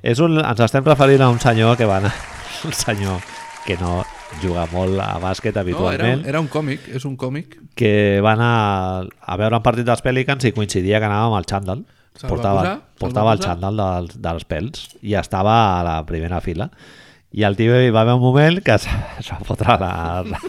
Speaker 2: És un, ens estem referint a un senyor que va anar... Un senyor que no juga molt a bàsquet
Speaker 1: No, era,
Speaker 2: habitualment,
Speaker 1: un- era un còmic, és un còmic.
Speaker 2: que va anar a veure un partit dels Pelicans i coincidia que anava amb el xandall.
Speaker 1: Se'l va
Speaker 2: Portava,
Speaker 1: posar, se'l
Speaker 2: portava
Speaker 1: va
Speaker 2: el
Speaker 1: posar.
Speaker 2: xandall dels, dels pèls i estava a la primera fila. I el tio hi va haver un moment que es, es va fotre a la,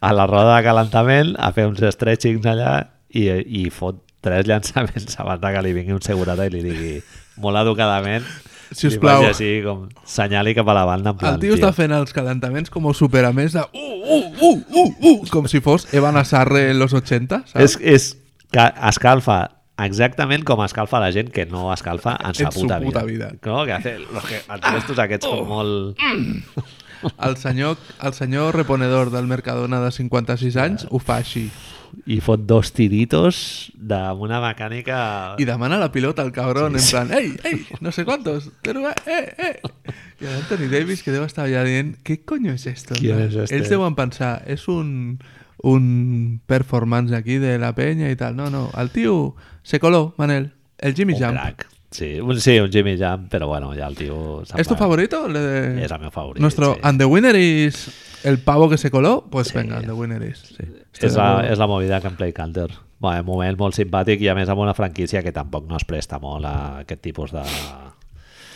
Speaker 2: a la roda de calentament a fer uns stretchings allà i, i fot tres llançaments abans de que li vingui un segurata i li digui molt educadament
Speaker 1: Si us
Speaker 2: li faci
Speaker 1: plau.
Speaker 2: així com senyali cap a la banda en plan,
Speaker 1: El tio està fent els calentaments com superamés de... Uh, uh, uh, uh, uh, com si fos Evan Asarre en los 80,
Speaker 2: És,
Speaker 1: saps?
Speaker 2: és que escalfa exactament com escalfa la gent que no escalfa en sa
Speaker 1: En su
Speaker 2: puta,
Speaker 1: puta
Speaker 2: vida.
Speaker 1: vida. Oh.
Speaker 2: No? Que hace los que, els gestos aquests com molt...
Speaker 1: El senyor, el senyor reponedor del Mercadona de 56 anys ho fa així.
Speaker 2: I fot dos tiritos d'una mecànica...
Speaker 1: Y demana la pilota al cabrón, en plan, ¡ey, ey! No sé cuántos. pero, eh, eh, eh". Y a Anthony Davis, que debe estar ya bien, ¿qué coño es esto?
Speaker 2: ¿Quién
Speaker 1: no?
Speaker 2: es este?
Speaker 1: Ells deuen pensar, es un, un performance aquí de la peña y tal. No, no, al tío se coló, Manel, el Jimmy
Speaker 2: un
Speaker 1: Jump.
Speaker 2: crac. Sí, un, sí, un Jimmy Jump, però bueno, ja el tio... se'n
Speaker 1: ¿Es tu eh?
Speaker 2: va.
Speaker 1: favorito? Le de-
Speaker 2: És el meu favorit,
Speaker 1: Nuestro
Speaker 2: sí.
Speaker 1: And the Winner is el pavo que se coló. Pues venga, And the Winner is. Sí. Estoy
Speaker 2: És
Speaker 1: de
Speaker 2: la,
Speaker 1: acuerdo.
Speaker 2: és la movida que em play Calder. Bueno, un moment molt simpàtic i a més amb una franquícia que tampoc no es presta molt a aquest tipus de,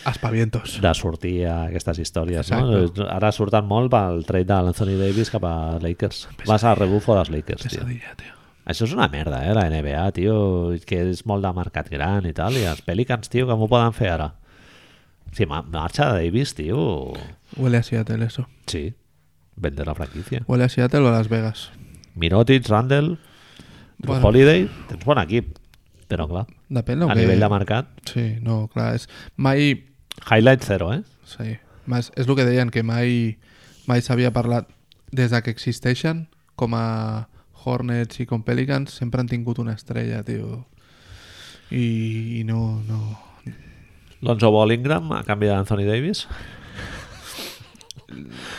Speaker 1: Aspavientos.
Speaker 2: de sortir a aquestes històries. No? Eh, Ara surten molt pel trade de l'Anthony Davis cap a Lakers. Vas a rebufo dels Lakers, tio.
Speaker 1: Pesadilla, tío.
Speaker 2: Això és una merda, eh, la NBA, tio, que és molt de mercat gran i tal, i els Pelicans, tio, com ho poden fer ara? Si ma- marxa Davis, tio...
Speaker 1: Huele a Seattle eso.
Speaker 2: Sí, vender la franquicia.
Speaker 1: Huele a Seattle o a Las Vegas.
Speaker 2: Mirotic, Randall, bueno.
Speaker 1: Bueno.
Speaker 2: Holiday, tens bon equip, però clar,
Speaker 1: Depèn del
Speaker 2: a
Speaker 1: que...
Speaker 2: nivell de mercat,
Speaker 1: Sí, no, clar, és... Mai...
Speaker 2: Highlight 0, eh?
Speaker 1: Sí. Mas, és el que deien, que mai, mai s'havia parlat... Des de que existeixen, com a Hornets i com Pelicans, sempre han tingut una estrella, tio. I, i no, no...
Speaker 2: Lonzo Bollingram a canvi d'Anthony Davis.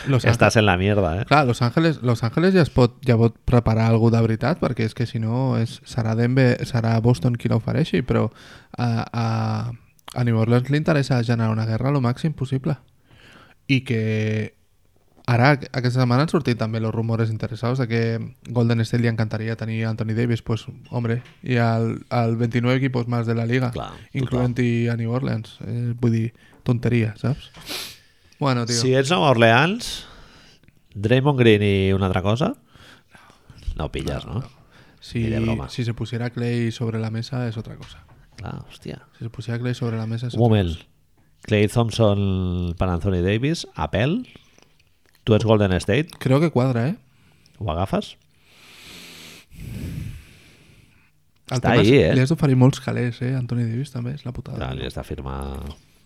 Speaker 1: Los
Speaker 2: Estàs en la mierda, eh?
Speaker 1: Clar, Los Angeles, Los Angeles ja es pot, ja pot preparar algú de veritat, perquè és que si no és, serà Denver, serà Boston qui l'ofereixi, però a, a, a New Orleans li interessa generar una guerra el màxim possible. I que ara, aqu- aquesta setmana han sortit també els rumores interessats de que Golden State li encantaria tenir Anthony Davis, pues, hombre, i al, al 29 equipos más de la liga,
Speaker 2: Clar,
Speaker 1: incloent-hi a New Orleans. Eh, vull dir, tonteria, saps? Bueno, tio.
Speaker 2: Si ets Nova Orleans, Draymond Green i una altra cosa, no ho pilles, no? Ni
Speaker 1: Si,
Speaker 2: de broma.
Speaker 1: si se pusiera Clay sobre la mesa es otra cosa.
Speaker 2: Clar, hòstia.
Speaker 1: Si se pusiera Clay sobre la mesa es
Speaker 2: Un
Speaker 1: otra
Speaker 2: moment. Clay Thompson per Anthony Davis, a pèl. Tu ets Golden State,
Speaker 1: cosa. Creo que cuadra, ¿eh?
Speaker 2: ho agafes?
Speaker 1: El
Speaker 2: Està
Speaker 1: tema és-
Speaker 2: ahí, eh?
Speaker 1: Li has d'oferir molts calés, eh? Anthony Davis també és la putada.
Speaker 2: Clar, li has de firmar...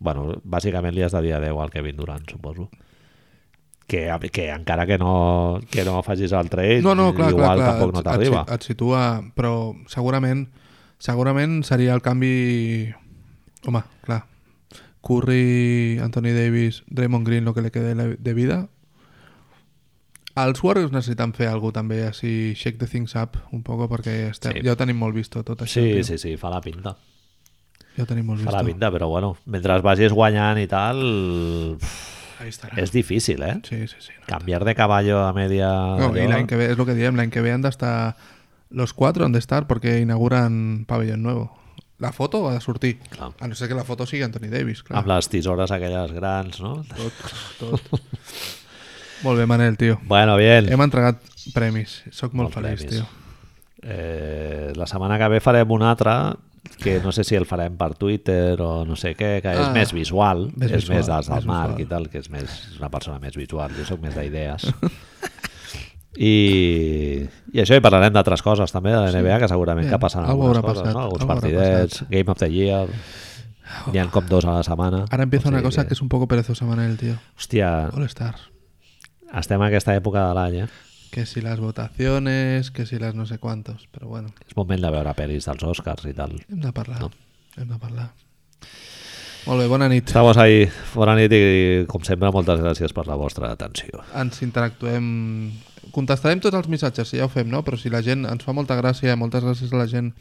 Speaker 2: Bueno, bàsicament li has de dir adeu al Kevin Durant, suposo. Que, que encara que no, que no facis el trade,
Speaker 1: No, no, clar,
Speaker 2: igual
Speaker 1: clar, clar.
Speaker 2: tampoc no
Speaker 1: et-
Speaker 2: t'arriba.
Speaker 1: Et, si- et situa, però segurament, segurament seria el canvi... Home, clar. Curry, Anthony Davis, Draymond Green, el que li quede la- de vida. Els Warriors necessiten fer alguna també, així shake the things up un poc, perquè estem,
Speaker 2: Sí.
Speaker 1: ja ho tenim molt visto tot això.
Speaker 2: Sí,
Speaker 1: tio.
Speaker 2: sí, sí, fa la pinta.
Speaker 1: Ja ho tenim molt
Speaker 2: Fa la
Speaker 1: vist.
Speaker 2: pinta, però bueno, mentre vagis guanyant i tal,
Speaker 1: Ahí estarà.
Speaker 2: és difícil, eh?
Speaker 1: Sí, sí, sí.
Speaker 2: Canviar de caballo a media...
Speaker 1: No, y
Speaker 2: allò-
Speaker 1: l'any que ve, es lo que diem, l'any que ve han d'estar los cuatro han d'estar porque inauguran pabellón nuevo. La foto va a sortir.
Speaker 2: Clar.
Speaker 1: A no ser que la foto sigui Anthony Davis, clar.
Speaker 2: Amb les tisores aquelles grans, no?
Speaker 1: Tot, tot. molt bé, Manel, tio.
Speaker 2: Bueno, bien.
Speaker 1: Hem entregat premis. Soc molt,
Speaker 2: Molts
Speaker 1: feliç,
Speaker 2: premis.
Speaker 1: tio.
Speaker 2: Eh, la setmana que ve farem un altre que no sé si el farem per Twitter o no sé què, que és
Speaker 1: Ah,
Speaker 2: més visual,
Speaker 1: més
Speaker 2: és
Speaker 1: visual,
Speaker 2: més
Speaker 1: més
Speaker 2: dels del Marc
Speaker 1: visual.
Speaker 2: i tal, que és més és una persona més visual, jo sóc més d'idees. I, I això hi parlarem d'altres coses també, de la NBA, que segurament
Speaker 1: Bien,
Speaker 2: que passen
Speaker 1: algo
Speaker 2: algunes
Speaker 1: haurà
Speaker 2: coses,
Speaker 1: passat,
Speaker 2: no? alguns
Speaker 1: algo haurà
Speaker 2: partidets, Game of the Year, n'hi ha com dos a la setmana.
Speaker 1: Ahora empieza
Speaker 2: O sigui
Speaker 1: em una cosa que es un poco perezosa, Manel, tío.
Speaker 2: Hòstia,
Speaker 1: All Star.
Speaker 2: estem en aquesta època de l'any, eh?
Speaker 1: Que si las votaciones, que si las no sé cuántos, pero bueno,
Speaker 2: És moment de veure pel·lis dels Oscars i tal.
Speaker 1: hem de parlar.
Speaker 2: No.
Speaker 1: Hem de parlar. Molt bé, bona nit.
Speaker 2: Estamos ahí, bona nit i com sempre moltes gràcies per la vostra atenció.
Speaker 1: ens interactuem contestarem tots els missatges, si ja ho fem, no? Però si la gent ens fa molta gràcia, moltes gràcies a la gent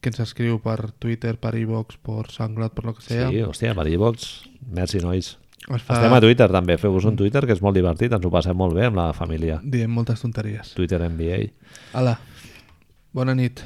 Speaker 1: que ens escriu per Twitter, per iVox, per SoundCloud, per lo que
Speaker 2: Sí,
Speaker 1: sea.
Speaker 2: hòstia, per iVox, merci nois.
Speaker 1: Ens fa...
Speaker 2: Estem a Twitter també, feu-vos un Twitter que és molt divertit, ens ho passem molt bé amb la família.
Speaker 1: Diem moltes tonteries.
Speaker 2: Twitter NBA.
Speaker 1: Hola, bona nit.